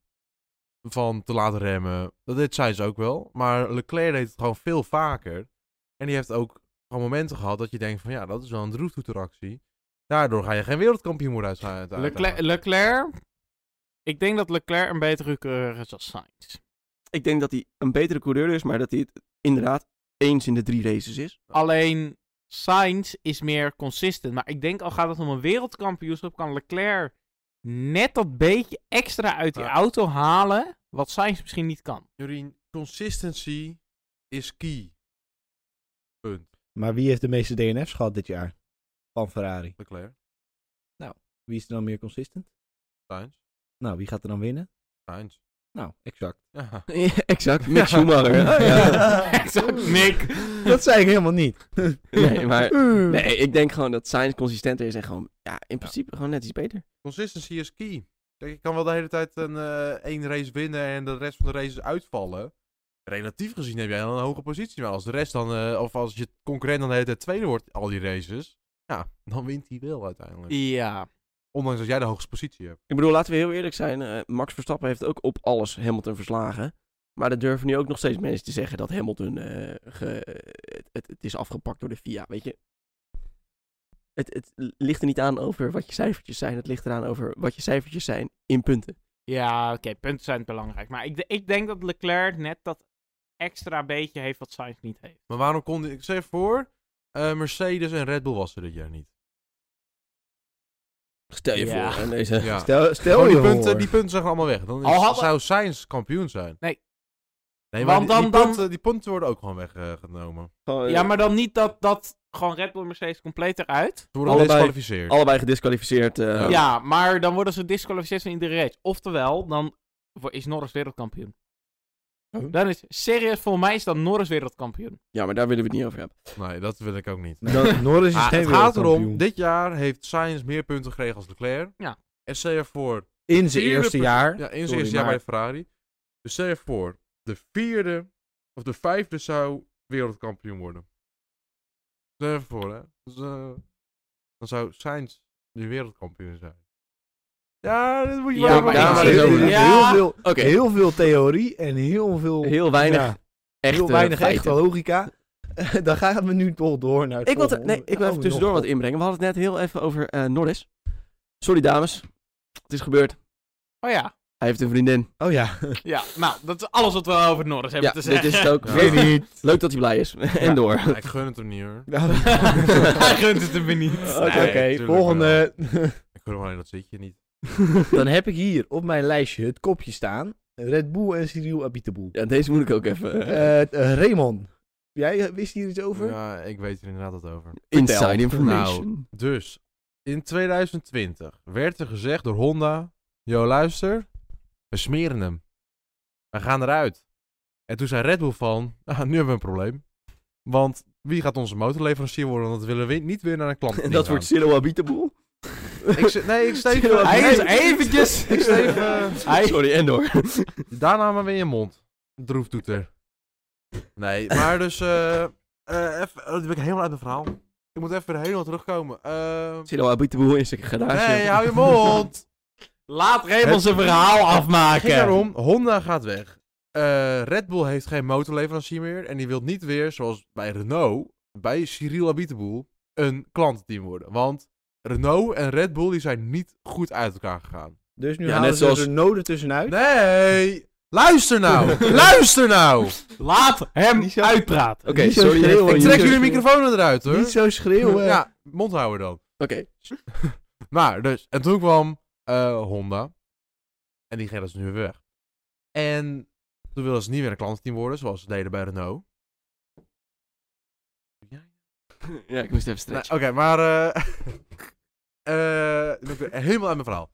Van te laten remmen. Dat deed zij ze ook wel. Maar Leclerc deed het gewoon veel vaker. En die heeft ook gewoon momenten gehad dat je denkt van ja, dat is wel een droeftoeteractie. Daardoor ga je geen wereldkampioen worden uit- uit- uit- Leclerc, Leclerc. Ik denk dat Leclerc een betere coureur is dan Sainz. Ik denk dat hij een betere coureur is, maar dat hij het inderdaad eens in de drie races is. Alleen Sainz is meer consistent. Maar ik denk al gaat het om een wereldkampioenschap, kan Leclerc net dat beetje extra uit die Ja. auto halen. Wat Sainz misschien niet kan. Jorien, consistency is key. Punt. Maar wie heeft de meeste DNF's gehad dit jaar? Van Ferrari. Leclerc. Wie is er dan meer consistent? Sainz. Nou, wie gaat er dan winnen? Sainz. Nou, exact. Ja. exact, Mick Schumacher. Ja. Nick. Dat zei ik helemaal niet. Nee, maar... Nee, ik denk gewoon dat Sainz consistenter is en gewoon... Ja, in principe gewoon net iets beter. Consistency is key. Kijk, je kan wel de hele tijd een, eh, één race winnen en de rest van de races uitvallen. Relatief gezien heb jij dan een hoge positie. Maar als de rest dan, eh, of als je concurrent dan de hele tijd tweede wordt, al die races. Ja, dan wint hij wel uiteindelijk. Ja. Ondanks dat jij de hoogste positie hebt. Ik bedoel, laten we heel eerlijk zijn. eh, Max Verstappen heeft ook op alles Hamilton verslagen. Maar er durven nu ook nog steeds mensen te zeggen dat Hamilton eh, ge- het, het, het is afgepakt door de FIA. Weet je, het, het ligt er niet aan over wat je cijfertjes zijn. Het ligt eraan over wat je cijfertjes zijn in punten. Ja, oké, punten zijn belangrijk. Maar ik, de- ik denk dat Leclerc net dat extra beetje heeft wat Sainz niet heeft. Maar waarom kon die- Ik zeg voor, eh, Mercedes en Red Bull was er dit jaar niet. Stel je Ja. voor. En deze... Ja. Stel, stel Gewoon je die, punten, voor. die punten zijn gewoon allemaal weg. Dan is, Al hadden- zou Sainz kampioen zijn. Nee. Nee, Want maar die, die dan- dan- punten, die punten worden ook gewoon weggenomen. Gewoon, eh, Ja, maar dan niet dat, dat gewoon Red Bull en Mercedes compleet eruit. Ze worden Allebei- gedisqualificeerd. Allebei gedisqualificeerd. eh, Ja, maar dan worden ze disqualificeerd van iedere race. Oftewel, dan wo- is Norris wereldkampioen. Oh. Dan is serieus, voor mij is dan Norris wereldkampioen. ja, maar daar willen we het niet over hebben. Nee, dat wil ik ook niet. Dan, Norris is Ah, geen het gaat erom, wereldkampioen. dit jaar heeft Sainz meer punten gekregen als Leclerc. Ja. En stel je voor, In zijn vierde eerste punt- jaar. ja, in zijn Sorry, eerste jaar bij maar- de Ferrari. Dus stel je voor, de vierde of de vijfde zou wereldkampioen worden. Stel je voor, hè. Dus, eh, dan zou Sainz nu wereldkampioen zijn. Ja, dat moet je Ja, wel maar even- ja, maar er dit is is heel, over. Ja. veel, Oké, heel veel theorie en heel veel... heel weinig. ja, echt, eh, heel weinig echte feiten. logica. Dan gaan we nu toch door naar het Ik wil, te- volgende nee, ik wil onderwerp. even Oh, tussendoor nog- wat inbrengen. We hadden het net heel even over eh Norris. Sorry dames, het is gebeurd. Oh ja. Hij heeft een vriendin. Oh ja. Ja, nou, dat is alles wat we over Norris hebben Ja, te dit zeggen. is het ook. Ja. Weet Weet niet. Leuk dat hij blij is. en Ja. door. Ja, ik gun het hem niet hoor. Hij gunt het hem weer niet. Oké, Nee, tuurlijk volgende. Ik gun hem alleen dat zitje niet. Dan heb ik hier op mijn lijstje het kopje staan. Red Bull en Cyril Abitaboul. Ja, deze moet ik ook even. eh, Eh, eh, Raymond, jij eh, wist hier iets over? Ja, ik weet er inderdaad wat over. inside vertel. information. Dus, in 2020 werd er gezegd door Honda: Yo, luister, we smeren hem. We gaan eruit. En toen zei Red Bull van: ah, Nu hebben we een probleem. Want wie gaat onze motorleverancier worden? Want dat willen we niet weer naar een klant. en dat wordt Cyril Abitaboel. Ik zeg- nee, ik steef- Cyril Hij is Abitaboel. eventjes... Ik steef, eh, Hij- Sorry, en door. Daarna maar weer je mond. Droeftoeter. Nee, maar dus. eh eh even, oh, dat ben ik helemaal uit mijn verhaal. Ik moet even weer helemaal terugkomen. Eh, Cyril Abitaboel is een garage. nee, hou je mond! Laat Raymond Het- zijn verhaal afmaken. ging daarom, Honda gaat weg. Eh, Red Bull heeft geen motorleverancier meer. En die wil niet weer, zoals bij Renault, bij Cyril Abiteboul, een klantenteam worden. Want Renault en Red Bull die zijn niet goed uit elkaar gegaan. Dus nu Ja, halen net ze zoals- er noden tussenuit. Nee! Luister nou! luister nou! Laat hem Niet zo- uitpraten. Oké, Niet zo sorry. schreeuwen, Henk, Ik niet niet trek zo jullie schreeuwen. microfoon eruit hoor. Niet zo schreeuwen. Ja, mond houden dan. Oké. Maar, dus, en toen kwam eh, Honda. En die ging dus nu weer weg. En toen wilden ze niet meer een klantenteam worden, zoals ze deden bij Renault. Ja, ik moest even Nou, stretchen. Oké, maar... eh eh, nu ben ik weer helemaal uit mijn verhaal.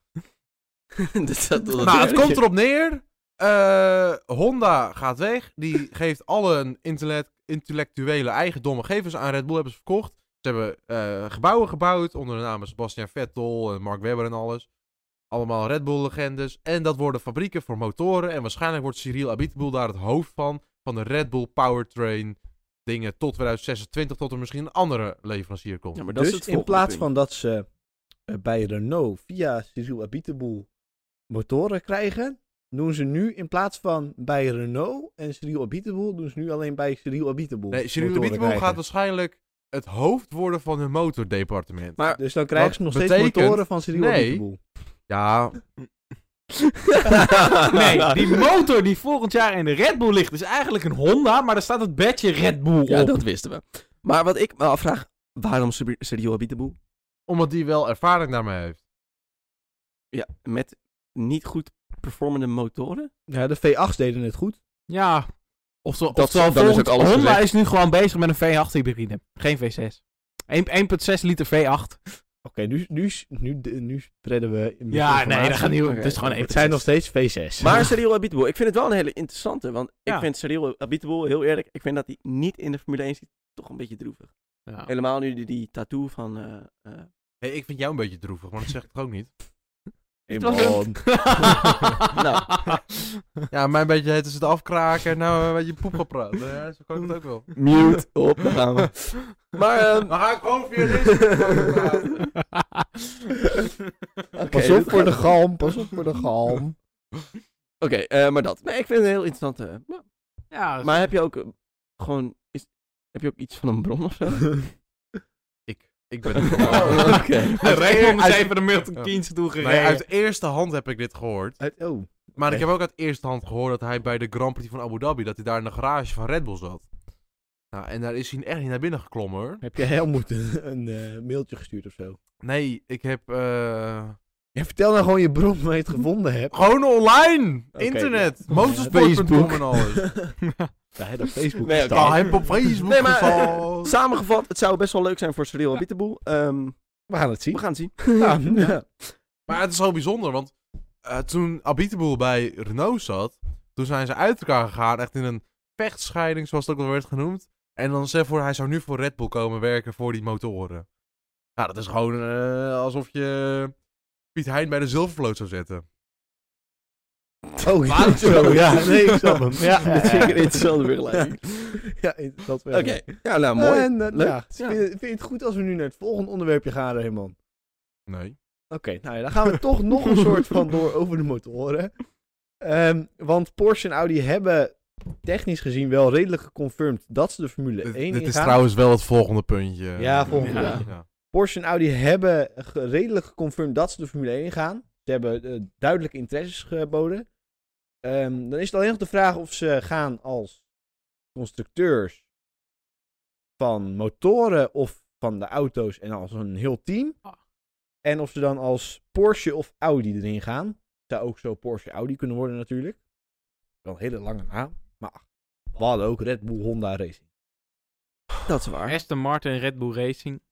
Dat- dat- dat- nou, het komt erop neer. eh, Honda gaat weg. Die geeft alle een intellect- intellectuele eigendommen gegevens aan Red Bull. Hebben ze verkocht. Ze hebben eh, gebouwen gebouwd onder de namen Sebastian Vettel en Mark Webber en alles. Allemaal Red Bull-legendes. En dat worden fabrieken voor motoren. En waarschijnlijk wordt Cyril Abiteboul daar het hoofd van. Van de Red Bull Powertrain dingen tot 2026. Tot er misschien een andere leverancier komt. Ja, maar dat Dus is het in volgende plaats punt. van dat ze eh, bij Renault via Cyril Abiteboul motoren krijgen, doen ze nu in plaats van bij Renault en Cyril Abiteboul, doen ze nu alleen bij Cyril Abiteboul. nee, Cyril motoren Abiteboul krijgen. gaat waarschijnlijk het hoofd worden van hun motordepartement. Maar Dus dan krijgen Wat ze nog steeds betekent- motoren van Cyril Nee. Abiteboul. Ja, Nee, die motor die volgend jaar in de Red Bull ligt, is eigenlijk een Honda, maar daar staat het badge Red Bull op. Ja, dat wisten we. Maar wat ik me afvraag, waarom Sub- Sergio Abitaboe? Omdat die wel ervaring daarmee heeft. Ja, met niet goed performende motoren? Ja, de V8's deden het goed. Ja. Ofzo, Dat- oftewel, dan is ook volgens- alles Honda gezegd. is nu gewoon bezig met een V8 hybride. Geen V6. 1,6 liter V8. Oké, nu, nu, nu, nu spreiden we... Ja, nee, dat misinformatie. gaat niet. Oké. Het is gewoon 1,6. Het zijn nog steeds V6. Maar Sergio Abitaboe, ik vind het wel een hele interessante. Want Ja. ik vind Sergio Abitaboe, heel eerlijk, ik vind dat hij niet in de Formule 1 zit, toch een beetje droevig. Ja. Helemaal nu die, die tattoo van... eh, eh, Nee, ik vind jou een beetje droevig, maar dat zeg ik toch ook niet. het was een- Nou. Ja, mijn beetje het is het afkraken, nou een beetje poep gaan praten. Ja, zo kan ik het ook wel. eh, mute, op, daar gaan we. Maar, ehm, Dan ga ik gewoon via deze. oké, Pas dat op voor gaat- de galm, pas op voor de galm. Oké, eh, maar dat. Nee, ik vind het een heel interessante. ja. ja, Maar heb je ook eh, gewoon... Is, heb je ook iets van een bron of zo? ik. Ik ben het Oh, gewoon. Oké. Raymond is Uit- even de Milton Ja. Keynes toe Nee, gereden. uit eerste hand heb ik dit gehoord. Uit- Oh, Maar ik Oké. heb ook uit eerste hand gehoord dat hij bij de Grand Prix van Abu Dhabi, dat hij daar in de garage van Red Bull zat. Nou, en daar is hij echt niet naar binnen geklommen hoor. heb je Helmoet een, een eh, mailtje gestuurd of zo? Nee, ik heb... eh, Ja, vertel nou gewoon je bron waar je het gevonden hebt. Gewoon online! Oké, Internet! ja. Motorsport.com en alles. Ja, hij op Facebook Nee, gestaan. oké. Ah, heb op Facebook Nee, maar- gezet. Samengevat, het zou best wel leuk zijn voor Cyril Abitaboe. Ehm, We gaan het we zien. gaan het zien. Ja, ja. Maar het is wel bijzonder, want eh, toen Abiteboul bij Renault zat, toen zijn ze uit elkaar gegaan, echt in een vechtscheiding, zoals het ook al werd genoemd. En dan zei voor, hij zou nu voor Red Bull komen werken voor die motoren. Nou, dat is gewoon eh, alsof je Piet Hein bij de zilvervloot zou zetten. Oh, ja, Laat zo, ja. Nee, ik snap hem. Ja, Ah, Dat is zeker een interessante vergelijking. Ja, dat wel. Oké, ja, nou mooi. En, eh, Leuk. ja, Ja. Vind, je- vind je het goed als we nu naar het volgende onderwerpje gaan, Raymond? Nee. Oké, nou ja, dan gaan we toch nog een soort van door over de motoren. Ehm, want Porsche en Audi hebben technisch gezien wel redelijk geconfirmed dat ze de Formule 1 Dit, ingaan. dit is trouwens wel het volgende puntje. Ja, volgende Ja. puntje. Ja. Porsche en Audi hebben ge- redelijk geconfirmed dat ze de Formule 1 gaan. Ze hebben eh, duidelijke interesses geboden. Ehm, dan is het alleen nog de vraag of ze gaan als constructeurs van motoren of van de auto's en als een heel team. Ah. En of ze dan als Porsche of Audi erin gaan. Zou ook zo Porsche Audi kunnen worden natuurlijk. Wel een hele lange naam. Maar ach, we hadden ook Red Bull Honda Racing. Eh, Dat is waar. Aston Martin Red Bull Racing.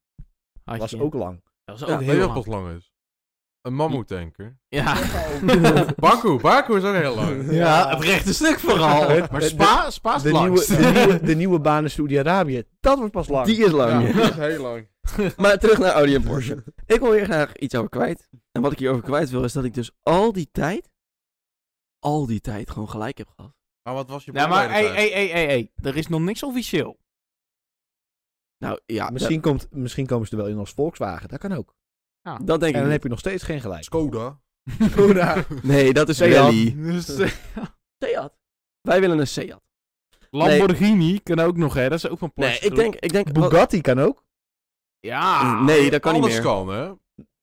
Dat Had was je. ook lang. Dat was Ja, ook weet je heel wat lang. lang is? Een mammoetanker. Ja. Baku, Baku is ook heel lang. ja, het rechte stuk vooral. Het- Maar het- Spa, Spa is de, het nieuwe, langst. de, nieuwe, de nieuwe baan in Saudi-Arabië, dat wordt pas lang. Die is lang. Ja, dat is heel lang. Maar terug naar Audi en Porsche. ik wil hier graag iets over kwijt. En wat ik hierover kwijt wil, is dat ik dus al die tijd, al die tijd gewoon gelijk heb gehad. Maar wat was je nou, maar voorbereiding hey, hey, hey, hey, hey. Er is nog niks officieel. Nou ja, misschien, komt, misschien komen ze er wel in als Volkswagen, dat kan ook. dat, dat denk En ik dan niet. heb je nog steeds geen gelijk. Skoda. Skoda. Nee, dat is Seat. rally. Dus, Seat. Wij willen een Seat. Lamborghini kan ook nog, hè. Dat is ook van Porsche. Nee, ik denk... Ik denk wat- Bugatti kan ook. Ja. oh, nee, dat kan niet Alles meer. kan, hè?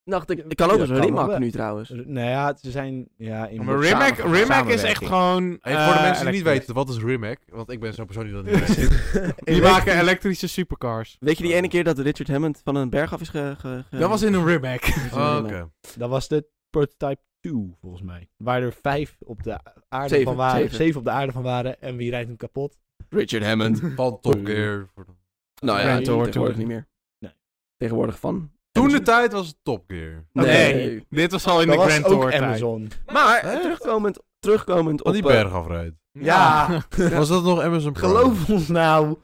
dacht ik, ik kan ook Ja, eens een kan remake wel. nu trouwens. Nou ja, ze zijn... Ja, in Maar Rimac, samen- Rimac is echt samenwerking. gewoon... Hey, voor de eh, mensen die niet elektrisch. weten, wat is Rimac? Want ik ben zo'n persoon die dat niet weet. Die maken elektrische supercars. Weet je die ene keer dat Richard Hammond van een berg af is ge... ge- ge- Dat was in een Rimac. Oh, Remake. oké. Dat was de prototype 2, volgens mij. Waar er vijf op de aarde Zeven, van waren. zeven. Zeven. op de aarde van waren. En wie rijdt hem kapot? Richard Hammond. Van Top Gear. nou ja, Ja, hoor, tegenwoordig hoor. niet meer. Nee. Tegenwoordig van... Toen de tijd was het Top Gear. Nee. Nee. Dit was al in dat de was Grand ook Tour tijd. Amazon. Maar eh, Hè? terugkomend, terugkomend op... Van die eh, berg afrijdt. Ja. Was dat nog Amazon Prime? Geloof ons nou.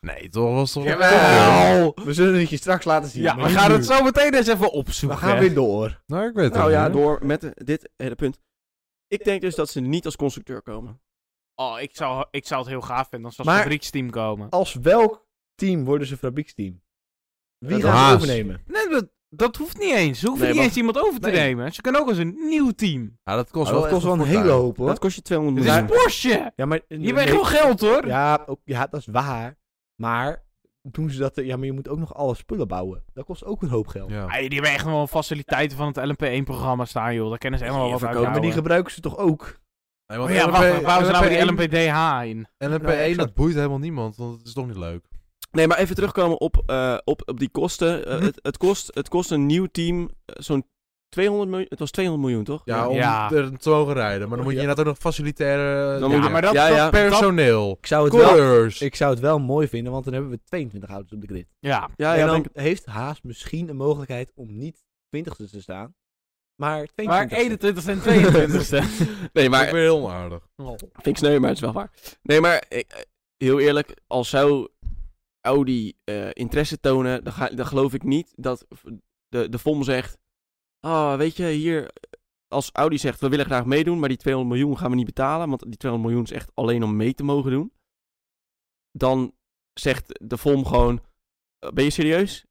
Nee, toch was toch... Jawel. We zullen het je straks laten zien. Ja, we maar gaan nu- het zo meteen eens even We opzoeken. gaan weer door. Nou, ik weet het nou niet, ja, hoor. door met eh, dit hele punt. Ik denk dus dat ze niet als constructeur komen. Oh, ik zou, ik zou het heel gaaf vinden als we als Maar- fabrieksteam komen. Als welk team worden ze fabrieksteam? Wie Dat gaan ze Haas. overnemen? Nee, dat, dat hoeft niet eens. Ze hoeven Nee, niet maar- eens iemand over te Nee. nemen. Ze kunnen ook als een nieuw team. Ja, dat kost Oh, dat wel kost wel echt een fortuin. hele hoop hoor. Dat kost je 200 Het miljoen. is Maar- Porsche. Ja, maar, Je bent nee. heel geld hoor. Ja, ook- ja, dat is waar. Maar doen ze dat... er- Ja, maar je moet ook nog alle spullen bouwen. Dat kost ook een hoop geld. Ja. Ah, die hebben echt wel faciliteiten van het LMP1-programma staan, joh. Daar kennen ze helemaal Die wat uit. verkopen maar die houden. gebruiken ze toch ook? Nee, want Oh ja, wacht, LNP waar houden ze nou weer die LNP1 LMPDH in? Nou, LNP1, dat boeit helemaal niemand, want het is toch niet leuk. Nee, maar even terugkomen op, eh, op, op die kosten. Eh, Mhm. het, het, kost, het kost een nieuw team eh, zo'n 200 miljoen. Het was 200 miljoen, toch? Ja, om Ja. er te mogen rijden. Maar dan moet je Ja. inderdaad ook nog facilitaire... Dan ja, moet je- maar dat- ja, dat- ja. Personeel. Ik zou, het wel, Coureurs. ik zou het wel mooi vinden, want dan hebben we 22 auto's op de grid. Ja. Ja, ja, en dan denk ik. heeft Haas misschien een mogelijkheid om niet 20ste te staan, maar 22ste. Maar 21 en 22 Nee, maar Maar... Ook weer heel onaardig. Oh. Vind ik sneu, maar het is wel waar. Nee, maar eh, eh, heel eerlijk, als zou Audi eh, interesse tonen, dan, ga, dan geloof ik niet dat v- de, de FOM zegt, ah, weet je, hier, als Audi zegt, we willen graag meedoen, maar die 200 miljoen gaan we niet betalen, want die 200 miljoen is echt alleen om mee te mogen doen. Dan zegt de FOM gewoon, "Eh, ben je serieus?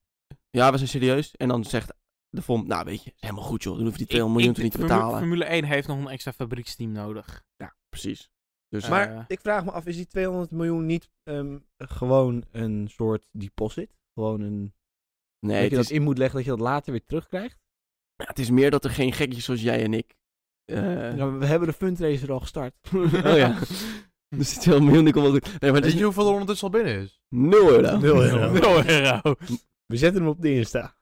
Ja, we zijn serieus. En dan zegt de FOM, nou weet je, is helemaal goed joh, dan hoef je die 200 miljoen toch niet te Formu- betalen. Formule 1 heeft nog een extra fabrieksteam nodig. Precies. Dus, Eh, Maar ik vraag me af, is die 200 miljoen niet ehm, gewoon een soort deposit? Gewoon een, nee, dat het je is, dat in moet leggen, dat je dat later weer terugkrijgt? Ja, Nou, het is meer dat er geen gekjes zoals jij en ik. eh, Ja, we hebben de fundraiser al gestart. oh ja. Er zit heel miljoen, die komt wel goed. Nee, maar het Weet is je hoeveel er ondertussen al binnen is? 0 euro. Nul euro. Nul euro. We zetten hem op de Insta.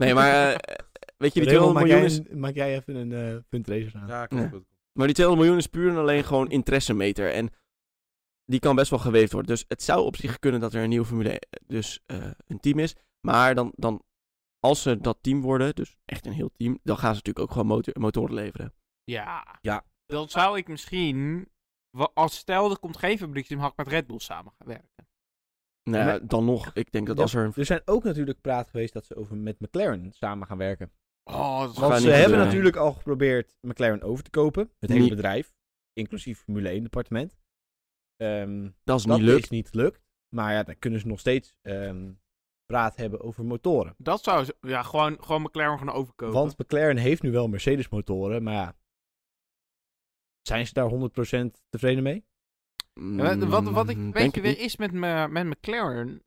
Nee, maar eh, weet je, die Raymond, 200 maak, miljoen jij is, een- maak jij even een eh, fundraiser aan. Ja, klopt. maar die 200 miljoen is puur en alleen gewoon interessemeter. En die kan best wel geweefd worden. Dus het zou op zich kunnen dat er een nieuwe Formule eh, dus eh, een team is. Maar dan, dan, als ze dat team worden, dus echt een heel team, dan gaan ze natuurlijk ook gewoon motor, motoren leveren. Ja. Ja. Dan zou ik misschien... wa- Als stel, er komt geen fabrieksteam, had ik met Red Bull samen gaan werken. Nou, ja, Maar- dan nog. Ik denk dat Ja, als er een... Er zijn ook natuurlijk praat geweest dat ze over met McLaren samen gaan werken. Oh, dat Gaan Want ze niet hebben gebeuren. natuurlijk al geprobeerd McLaren over te kopen. Het hele Niet. bedrijf. Inclusief Formule 1 departement. Ehm, Dat is dat niet lukt. is niet gelukt. Maar ja, dan kunnen ze nog steeds ehm, praat hebben over motoren. Dat zou... ze- Ja, gewoon, gewoon McLaren gaan overkopen. Want McLaren heeft nu wel Mercedes motoren. Maar ja, zijn ze daar 100% tevreden mee? Ja, wat- wat, wat ik Mm, een denk beetje het weer niet. is met, me, met McLaren.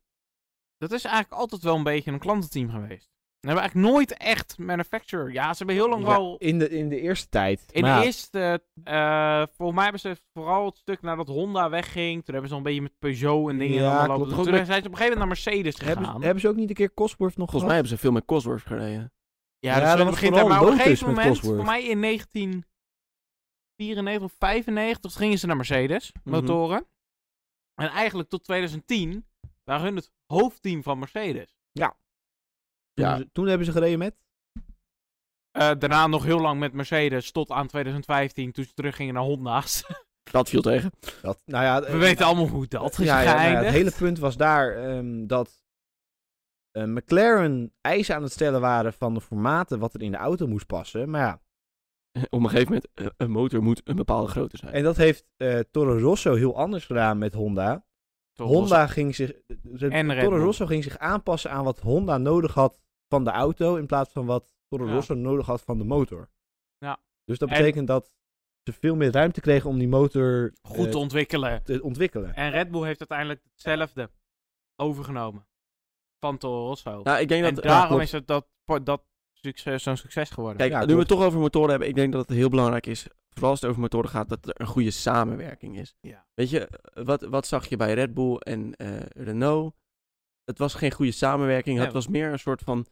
Dat is eigenlijk altijd wel een beetje een klantenteam geweest. We hebben eigenlijk nooit echt manufacturer. Ja, ze hebben heel lang Ja, wel. in, de, in de eerste tijd. In Maar ja, de eerste. eh volgens mij hebben ze vooral het stuk nadat Honda wegging. Toen hebben ze nog een beetje met Peugeot en dingen. Ja, allemaal klopt. lopen. Goed, Toen maar- zijn ze op een gegeven moment naar Mercedes hebben, ze, gegaan. hebben ze ook niet een keer Cosworth nog Volgens mij gehad? hebben ze veel met Cosworth gereden. Ja, ja, dus dat toen was begint vooral er- Maar op een Lotus gegeven met moment, Cosworth. voor mij in 1994 of 95, gingen ze naar Mercedes. Mhm. Motoren. En eigenlijk tot 2010 waren hun het hoofdteam van Mercedes. Toen, Ja. hebben ze- toen hebben ze gereden met? Eh, daarna nog heel lang met Mercedes tot aan 2015, toen ze teruggingen naar Honda's. dus- Dat viel tegen. Dat, nou ja, We eh, weten allemaal hoe dat is Ja, ja, nou ja, geëindigd. het hele punt was daar ehm, dat eh, McLaren eisen aan het stellen waren van de formaten wat er in de auto moest passen. Maar ja, Op een gegeven moment, eh, een motor moet een bepaalde grootte zijn. en dat heeft eh, Toro Rosso heel anders gedaan met Honda. Toch was- Honda ging zich, de- En Red Toro Bull. Rosso ging zich aanpassen aan wat Honda nodig had van de auto in plaats van wat Toro Ja. Rosso nodig had van de motor. Ja. Dus dat En- betekent dat ze veel meer ruimte kregen om die motor eh, Goed te ontwikkelen. te ontwikkelen. En Red Bull heeft uiteindelijk hetzelfde overgenomen van Toro Rosso. Nou, ik denk en dat... daarom ja, is het dat, dat succes, zo'n succes geworden. Kijk, Ja, nu we klopt. het toch over motoren hebben, ik denk dat het heel belangrijk is, vooral als het over motoren gaat, dat er een goede samenwerking is. Ja. Weet je, wat, wat zag je bij Red Bull en eh, Renault? Het was geen goede samenwerking, Nee. het was meer een soort van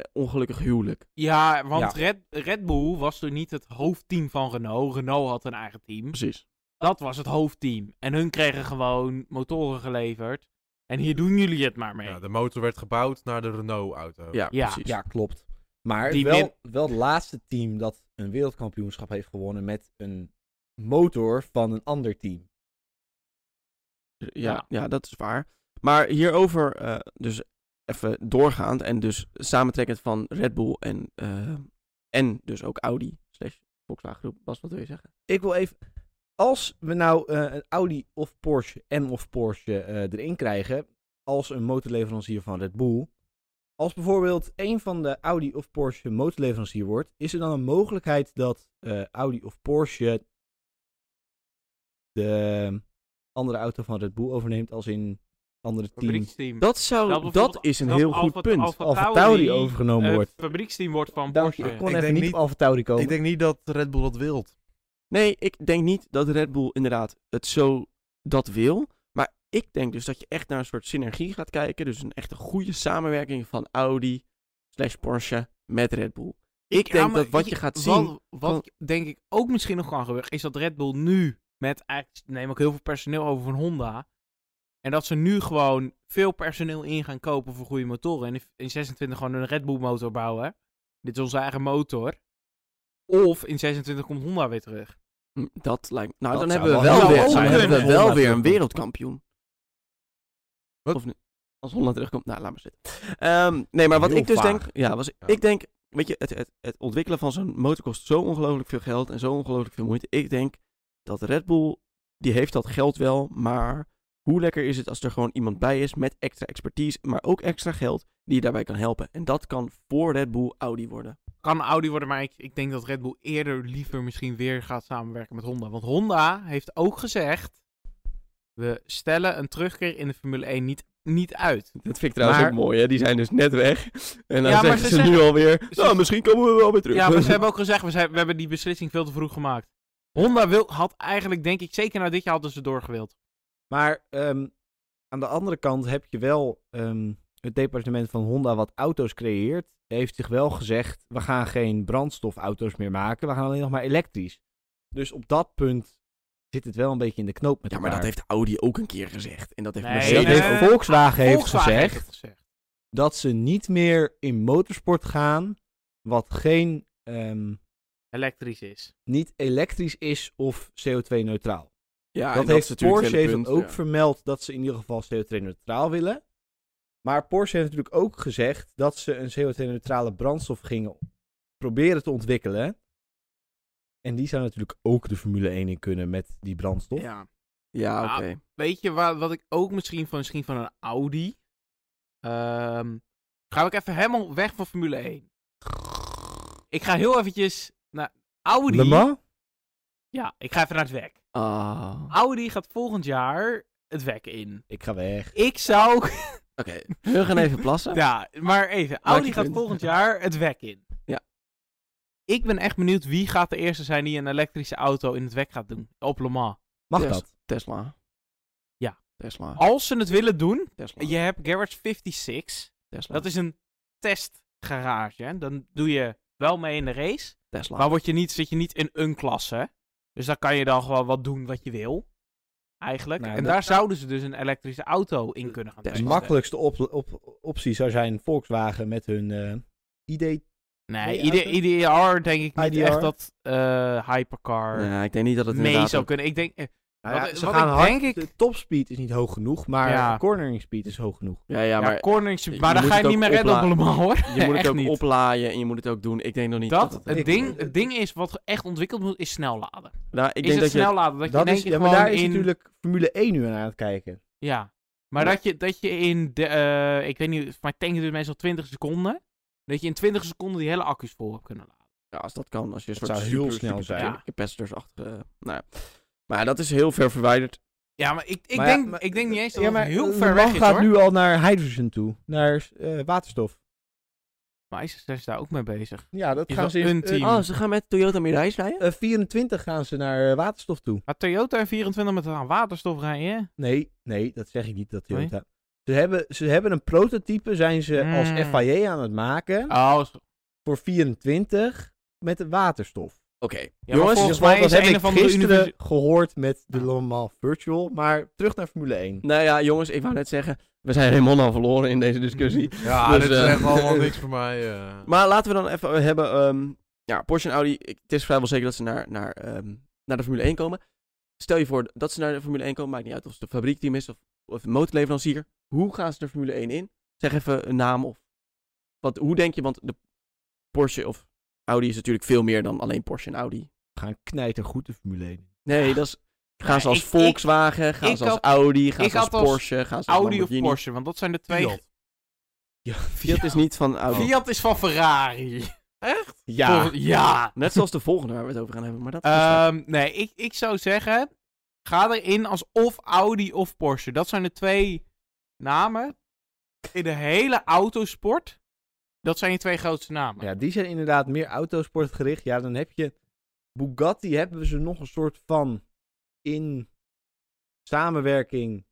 eh, ongelukkig huwelijk. Ja, want Red, Red Bull was toen niet het hoofdteam van Renault. Renault had een eigen team. Precies. Dat was het hoofdteam. En hun kregen gewoon motoren geleverd. En hier doen jullie het maar mee. Ja, de motor werd gebouwd naar de Renault-auto. Ja, Ja. precies. Ja, klopt. Maar Die wel, min- wel het laatste team dat een wereldkampioenschap heeft gewonnen met een motor van een ander team. Dus, Ja, ja, dat is waar. Maar hierover, eh, dus even doorgaand en dus samentrekkend van Red Bull en, eh, en dus ook Audi slash Volkswagen Groep. Bas, wat wil je zeggen? Ik wil even... Als we nou eh, een Audi of Porsche en of Porsche eh, erin krijgen, als een motorleverancier van Red Bull, als bijvoorbeeld een van de Audi of Porsche motorleverancier wordt, is er dan een mogelijkheid dat eh, Audi of Porsche de andere auto van Red Bull overneemt als in andere team Fabrieksteam. Dat, zou, dat bijvoorbeeld- is een dat heel Alfa- goed punt. Alfa Alfa Tauri, Tauri overgenomen eh, wordt. fabrieksteam wordt van Dank je. Porsche. Ik kon Ik even denk niet niet- op Alfa Tauri komen. Ik denk niet dat Red Bull dat wilt. Nee, ik denk niet dat Red Bull inderdaad het zo dat wil. Maar ik denk dus dat je echt naar een soort synergie gaat kijken. Dus een echte goede samenwerking van Audi slash Porsche met Red Bull. Ik denk maar dat wat je gaat zien- Wat, wat denk ik ook misschien nog kan gebeuren, is dat Red Bull nu met eigenlijk neem ik heel veel personeel over van Honda. En dat ze nu gewoon veel personeel in gaan kopen voor goede motoren. En in- in 26 gewoon een Red Bull motor bouwen. Dit is onze eigen motor. Of in 26 komt Honda weer terug. Hm, Dat lijkt Nou, Dat zou dan hebben we wel wel heel weer, goed dan kunnen. hebben we Als wel Honda weer een terugkomt. wereldkampioen. Wat? Of niet? Als Holland terugkomt, nou, laat maar zitten. Ehm, nee, maar wat Heel ik dus vaag. denk... Ja, was, Ja. ik denk... Weet je, het, het, het ontwikkelen van zo'n motor kost zo ongelooflijk veel geld en zo ongelooflijk veel moeite. Ik denk dat Red Bull, die heeft dat geld wel, maar hoe lekker is het als er gewoon iemand bij is met extra expertise, maar ook extra geld, die je daarbij kan helpen. En dat kan voor Red Bull Audi worden. Kan Audi worden, maar ik, ik denk dat Red Bull eerder liever misschien weer gaat samenwerken met Honda. Want Honda heeft ook gezegd, we stellen een terugkeer in de Formule 1 niet, niet uit. Dat vind ik trouwens Maar- ook mooi, hè? Die zijn dus net weg. En dan Ja, maar zeggen ze ze zeggen- nu alweer, ze- "Nou, misschien komen we wel weer terug. Ja, Dus- maar ze hebben ook gezegd, we, zijn- we hebben die beslissing veel te vroeg gemaakt. Honda wil, had eigenlijk, denk ik, zeker na dit jaar hadden ze doorgewild. Maar ehm, aan de andere kant heb je wel ehm, het departement van Honda wat auto's creëert. Heeft zich wel gezegd, we gaan geen brandstofauto's meer maken. We gaan alleen nog maar elektrisch. Dus op dat punt zit het wel een beetje in de knoop met Ja, maar dat elkaar. heeft Audi ook een keer gezegd. En dat heeft Nee, Mercedes Dat heeft ook. nee. Volkswagen heeft Volkswagen gezegd heeft het gezegd. dat ze niet meer in motorsport gaan wat geen, ehm, Elektrisch is. niet elektrisch is of CO2-neutraal. Ja, en dat heeft natuurlijk Porsche het heeft hele dat ook punt, vermeld dat ze in ieder geval CO2-neutraal willen. Maar Porsche heeft natuurlijk ook gezegd dat ze een CO2-neutrale brandstof gingen proberen te ontwikkelen. En die zou natuurlijk ook de Formule 1 in kunnen met die brandstof. Ja. Ja, ja Ja, oké. Weet je waar, wat ik ook misschien van, misschien van een Audi... Ehm ga ik even helemaal weg van Formule 1. Ik ga heel eventjes naar Audi. Le Mans? Ja, ik ga even naar het WEC. Ah. Audi gaat volgend jaar het WEC in. Ik ga weg. Ik zou... Oké, we gaan even plassen. Ja, maar even. Maak Audi je gaat punt. volgend jaar het WEC in. Ja. Ik ben echt benieuwd wie gaat de eerste zijn die een elektrische auto in het WEC gaat doen. Op Le Mans. Mag Yes. dat? Tesla. Ja. Tesla. Als ze het willen doen, Tesla. je hebt Garage 56. Tesla. Dat is een testgarage. hè. Dan doe je wel mee in de race, Tesla. maar word je niet, zit je niet in een klasse. Dus dan kan je dan gewoon wat doen wat je wil. Eigenlijk. Nou, en dat- daar zouden ze dus een elektrische auto in kunnen Tesla. gaan De testen. makkelijkste op- op- optie zou zijn Volkswagen met hun eh, ID. Nee, Nee, IDR IDR denk ik niet IDR? echt dat eh, Hypercar... Nee, ik denk niet dat het mee inderdaad... zou Ook... kunnen. Ik denk, eh, Nou ja, Wat- ze wat gaan ik hard. denk ik- De topspeed is niet hoog genoeg, maar Ja. de cornering speed is hoog genoeg. Ja, ja, ja, maar cornering, je maar dan moet ga je het niet meer ook redden op opla- allemaal hoor. je moet het Echt ook niet. oplaaien en je moet het ook doen. Ik denk nog niet dat... Dat, het- het, ik- ding, het ding is, wat echt ontwikkeld moet, is snel laden. Nou, ik is denk het dat snel je... laden? Dat je Dat in één is, keer ja, maar gewoon daar is in, natuurlijk Formule 1 nu aan het kijken. Ja, maar Ja. Dat, je, dat je in, de, eh, ik weet niet, maar tanken duurt meestal 20 seconden. Dat je in 20 seconden die hele accu's vol hebt kunnen laden. Ja, als dat kan. Als je een Dat soort zou super, heel snel super- zijn. ja, capacitors achter... eh, nou ja. Maar dat is heel ver verwijderd. Ja, maar ik, ik, Maar ja, denk, maar- ik denk niet eens dat Ja, het maar heel Le Mans ver weg is gaat hoor. nu al naar hydrogen toe, naar eh, waterstof. Maar ISS is daar ook mee bezig. Ja, dat Is gaan wel ze een in eh, team. Oh, ze gaan met Toyota Mirai rijden? eh, 24 gaan ze naar eh, waterstof toe. Maar Toyota en 24 met aan waterstof rijden, hè? Nee, nee, dat zeg ik niet. Dat Nee? Toyota. Ze, hebben, ze hebben een prototype, zijn ze als Mm. FIA aan het maken. Oh, s- Voor 24 met de waterstof. Oké. maar Jongens, volgens dat mij is heb een ik of andere gisteren univers- gehoord met de Le Mans Virtual. Maar terug naar Formule 1. Nou ja, jongens, ik wou net zeggen, we zijn helemaal al verloren in deze discussie. Ja, Dus, dit is eh, echt allemaal niks voor mij. eh. Maar laten we dan even hebben. ehm, ja, Porsche en Audi. Ik, het is vrijwel zeker dat ze naar, naar, ehm, naar de Formule 1 komen. Stel je voor dat ze naar de Formule 1 komen. Maakt niet uit of het een fabriekteam is of, of een motorleverancier. Hoe gaan ze de Formule 1 in? Zeg even een naam of. Wat, hoe denk je? Want de Porsche of Audi is natuurlijk veel meer dan alleen Porsche en Audi. We gaan knijter goed de Formule 1. Nee, dat is. Gaan ze als ik- ik- Volkswagen, gaan ik ze als had- Audi, gaan ik ze als had als Porsche, gaan ze als Audi of Lamborghini. Porsche, want dat zijn de twee. Fiat. Fiat, Ja, Fiat is niet van Audi. is van Ferrari. Echt? ja. ja. Net zoals de volgende waar we het over gaan hebben. Maar dat is Ehm, nee, ik, ik zou zeggen, ga erin als of Audi of Porsche. Dat zijn de twee namen in de hele autosport. Dat zijn je twee grootste namen. ja, die zijn inderdaad meer autosportgericht. Ja, dan heb je Bugatti. Hebben we ze nog een soort van in samenwerking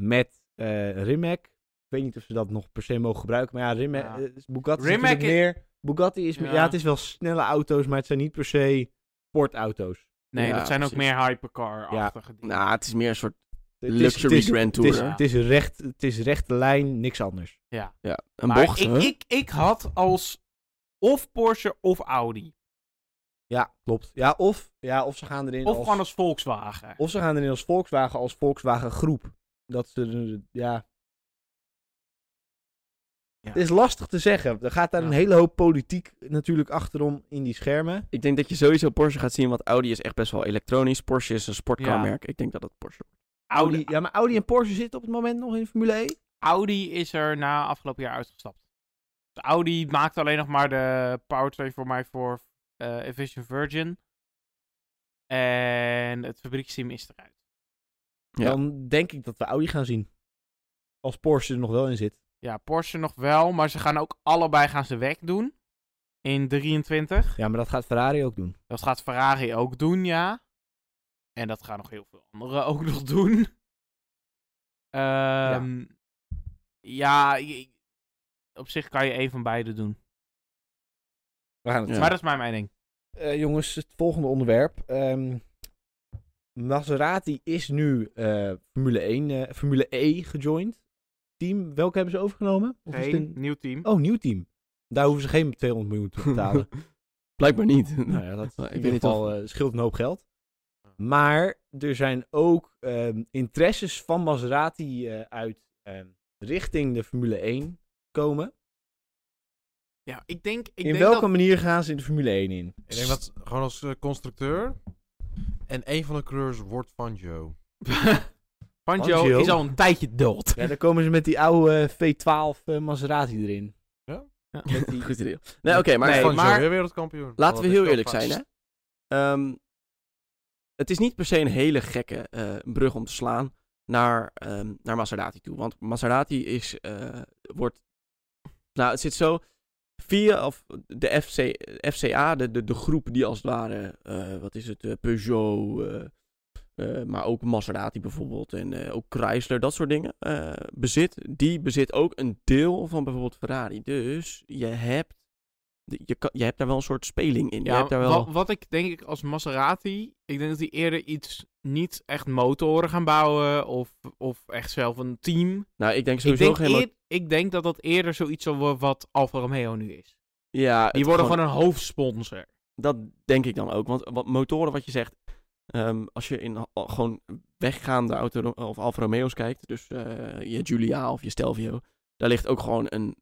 met eh, Rimac. Ik weet niet of ze dat nog per se mogen gebruiken. Maar ja, Rimac, Ja. eh, Bugatti is Rimac natuurlijk i- meer. Bugatti is meer- ja. Ja. het is wel snelle auto's, maar het zijn niet per se sportauto's. nee, ja, dat zijn ook precies. meer hypercar-achtige dingen. Nou, het is meer een soort Het is- luxury het is- grand Het tour. is, het is recht, het is rechte lijn, niks anders. ja, een Maar bocht, ik, hè? ik, ik had als of Porsche of Audi. Ja, klopt. Ja, of, ja, of ze gaan erin Of als... gewoon als Volkswagen. Of ze gaan erin als Volkswagen, als Volkswagen groep. Dat ze, eh, ja... Ja. Het is lastig te zeggen. Er gaat daar Ja. een hele hoop politiek natuurlijk achterom in die schermen. Ik denk dat je sowieso Porsche gaat zien, want Audi is echt best wel elektronisch. Porsche is een sportcarmerk. Ik denk dat het Porsche wordt. Audi, Audi, ja, maar Audi en Porsche zitten op het moment nog in Formule 1. Audi is er na afgelopen jaar uitgestapt. Dus Audi maakt alleen nog maar de powertrain voor mij voor eh Vision Virgin. En het fabrieksteam is eruit. Ja. Dan denk ik dat we Audi gaan zien. Als Porsche er nog wel in zit. Ja, Porsche nog wel, maar ze gaan ook allebei gaan ze weg doen. In 23. Ja, maar dat gaat Ferrari ook doen. Dat gaat Ferrari ook doen, ja. En dat gaan nog heel veel anderen ook nog doen. Ehm, ja, je- op zich kan je één van beide doen. We gaan het Ja. zien. Maar dat is mijn mening. Eh, jongens, het volgende onderwerp. Ehm, Maserati is nu eh, Formule 1, eh, Formule E gejoind. Team, welke hebben ze overgenomen? Of is het Geen een- nieuw team. Oh, nieuw team. Daar hoeven ze geen 200 miljoen te betalen. Blijkbaar niet. nou ja, dat weet in ieder niet of- geval eh, scheelt een hoop geld. Maar er zijn ook ehm, interesses van Maserati eh, uit ehm, richting de Formule 1 komen. Ja, ik denk. Ik in denk welke dat... manier gaan ze in de Formule 1 in? Ik denk dat gewoon als eh, constructeur. En een van de coureurs wordt van Joe. Fangio Fangio. is al een tijdje dood. Ja, dan komen ze met die oude V12 eh, Maserati erin. Met die- Goed idee. Nee, oké, maar, Nee, van maar- Joe, weer wereldkampioen. laten we Oh, dat heel is eerlijk wel zijn, hè. vast. Ehm, het is niet per se een hele gekke eh, brug om te slaan naar, ehm, naar Maserati toe. Want Maserati is, eh, wordt... Nou, het zit zo... Via of de FC, FCA, de, de, de groep die als het ware, eh, wat is het, eh, Peugeot, eh, eh, maar ook Maserati bijvoorbeeld en eh, ook Chrysler, dat soort dingen, eh, bezit. Die bezit ook een deel van bijvoorbeeld Ferrari. Dus je hebt, je, kan- je hebt daar wel een soort speling in. je hebt daar wel... wa- wat, ik denk ik als Maserati. Ik denk dat die eerder iets. Niet echt motoren gaan bouwen. Of, of echt zelf een team. Nou, ik denk Ik sowieso denk, geen... mo- eer- ik denk dat dat eerder zoiets zal worden wat Alfa Romeo nu is. ja, het Die worden gewoon een hoofdsponsor. Dat denk ik dan ook. Want wat motoren, wat je zegt... ehm, als je in al- gewoon weggaande auto of Alfa Romeo's kijkt... Dus eh, je Giulia of je Stelvio... Daar ligt ook gewoon een,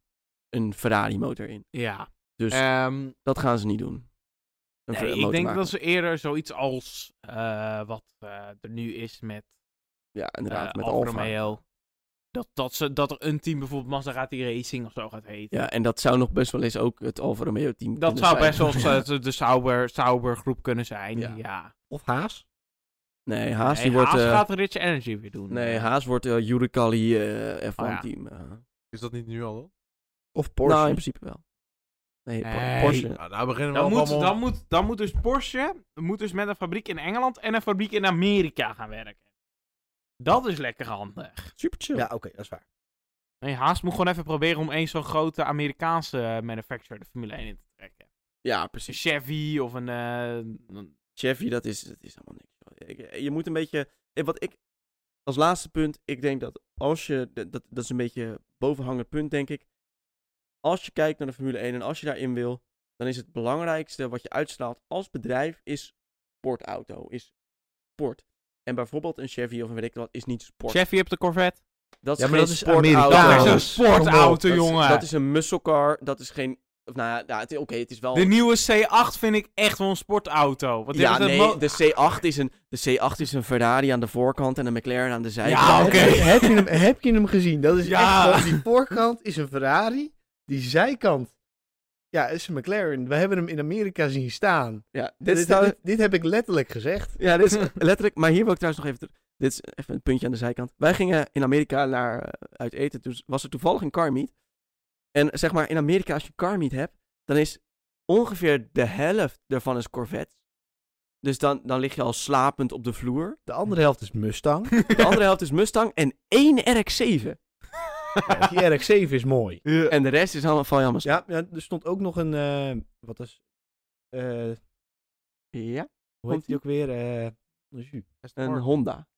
een Ferrari motor in. Ja. Dus Ehm, dat gaan ze niet doen. Een nee, Fer- ik motor denk maken. dat ze eerder zoiets als. eh, wat eh, er nu is met. Ja, inderdaad. eh, met Alfa Alfa. Romeo. Dat, dat, ze, dat er een team bijvoorbeeld Maserati Racing of zo gaat heten. Ja, en dat zou nog best wel eens ook het Alfa Romeo team Dat kunnen zou zijn. best wel eens, eh, de- de Sauber, Sauber groep kunnen zijn. Ja. Ja. Of Haas? Nee, Haas, Nee, die wordt... Haas eh, gaat Rich Energy weer doen. eh. Nee, Haas wordt eh Juricali Oh ja. F1 team. eh. Is dat niet nu al? Of Porsche. Nou, in principe wel. Nee, Por- Nee. Porsche. Nou, daar beginnen we Dan al moet, allemaal... dan, moet, dan moet dus Porsche moet dus met een fabriek in Engeland en een fabriek in Amerika gaan werken. Dat is lekker handig. Super chill. Ja, oké, dat is waar. Nee, Haas moet gewoon even proberen om één zo'n grote Amerikaanse eh, manufacturer de Formule 1 in te trekken. Ja, Dus een precies. Chevy of een... eh, een- Chevy, dat is, dat is allemaal niks. joh. Ik- Je moet een beetje... eh, Wat ik... Als laatste punt, ik denk dat als je... Dat, dat dat is een beetje bovenhangend punt, denk ik. Als je kijkt naar de Formule 1 en als je daarin wil, dan is het belangrijkste wat je uitstraalt als bedrijf is sportauto, is sport. En bijvoorbeeld een Chevy of een weet ik wat, is niet sport. Chevy op de Corvette. Dat Ja, maar geen dat is sportauto. Amerikaans. Dat is Ja, een sportauto, Dat is- jongen. Dat is een muscle car. Dat is geen. Of nou ja, ja, het- oké, het is wel. De nieuwe C8 vind ik echt wel een sportauto. Wat ja, is dat nee, mo- de C8, is een, de C8 is een Ferrari aan de voorkant en een McLaren aan de zijkant. Ja, oké. Heb, je- heb, je hem, heb je hem gezien? Dat is Ja. echt gewoon, die voorkant is een Ferrari, die zijkant ja, is een McLaren. We hebben hem in Amerika zien staan. Ja, dit Dit, nou- dit, is, trouw- dit, heb ik letterlijk gezegd. ja, dit is letterlijk. Maar hier wil ik trouwens nog even. ter- Dit is even een puntje aan de zijkant. Wij gingen in Amerika naar, eh, uit eten. Toen was er toevallig een car meet. En zeg maar, in Amerika, als je car meet hebt, dan is ongeveer de helft daarvan is Corvette. Dus dan, dan lig je al slapend op de vloer. De andere helft is Mustang. De andere helft is Mustang en één RX-7. Ja, die RX-7 is mooi. En de rest is allemaal van jammer. Ja, ja, er stond ook nog een, eh, wat is, eh, Ja. hoe heet die ook weer? Eh, nee, Een Honda.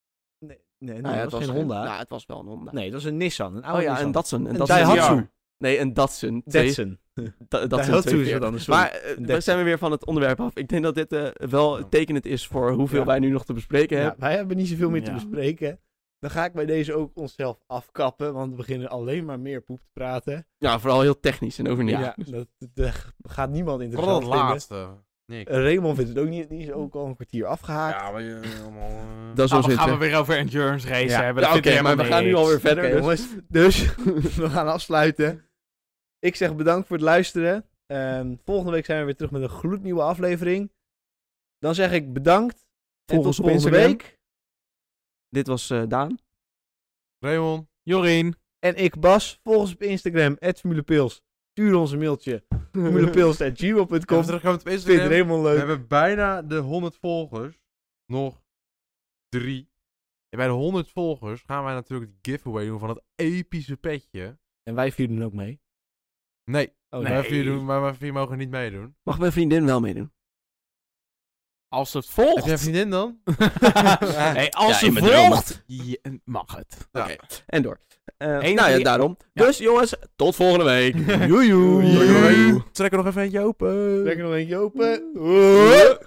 nee, nee Nou ja, dat was geen Honda. Nou, het was wel een Honda. Nee, dat was een Nissan, een oude Oh ja, Nissan. een Datsun. Een, Een Datsun Daihatsu. 240. Nee, een Datsun. Twee- Datsun. Da- Datsun Daihatsu is 240. wat anders. sorry. Maar eh, we Datsun. zijn weer van het onderwerp af. Ik denk dat dit eh, wel tekenend is voor hoeveel Ja. wij nu nog te bespreken Ja, hebben. wij hebben niet zoveel meer te Ja. bespreken. Dan ga ik bij deze ook onszelf afkappen, want we beginnen alleen maar meer poep te praten. Ja, vooral heel technisch en over niks. Ja, dat, dat gaat niemand Vooral interessant dat vinden. laatste. Nick. Raymond vindt het ook niet, die is ook al een kwartier afgehaakt. Ja, maar je... Allemaal, eh, Dat is Nou, ons dan gaan we weer. weer over endurance race Ja. hebben. Ja, Dat oké, vind ik maar we helemaal gaan nu niks. alweer verder. Oké, dus- jongens, dus we gaan afsluiten. Ik zeg bedankt voor het luisteren. Ehm, volgende week zijn we weer terug met een gloednieuwe aflevering. Dan zeg ik bedankt. en Volg tot ons op volgende Instagram. week. Dit was eh, Daan. Raymond. Jorien. En ik, Bas, volg ons op Instagram, @formulepils. Stuur ons een mailtje, formulepils.gmail.com. Kom terugkomen Vindt op Instagram. Raymond We leuk. hebben bijna de 100 volgers. Nog drie. En bij de 100 volgers gaan wij natuurlijk de giveaway doen van het epische petje. En wij vieren ook mee. Nee, Oh, Nee. Wij, vier doen, maar wij vier mogen niet meedoen. Mag mijn vriendin wel meedoen? Als het Heb volgt. jij een vriendin dan? hey, als Ja, je het bent er volgt. je- mag het. Ja. Oké. En door. Eh, Eén nou ja, drie- daarom. Ja. Dus jongens, tot volgende week. Joejoe. Trek er nog even eentje open. Trek er nog eentje open.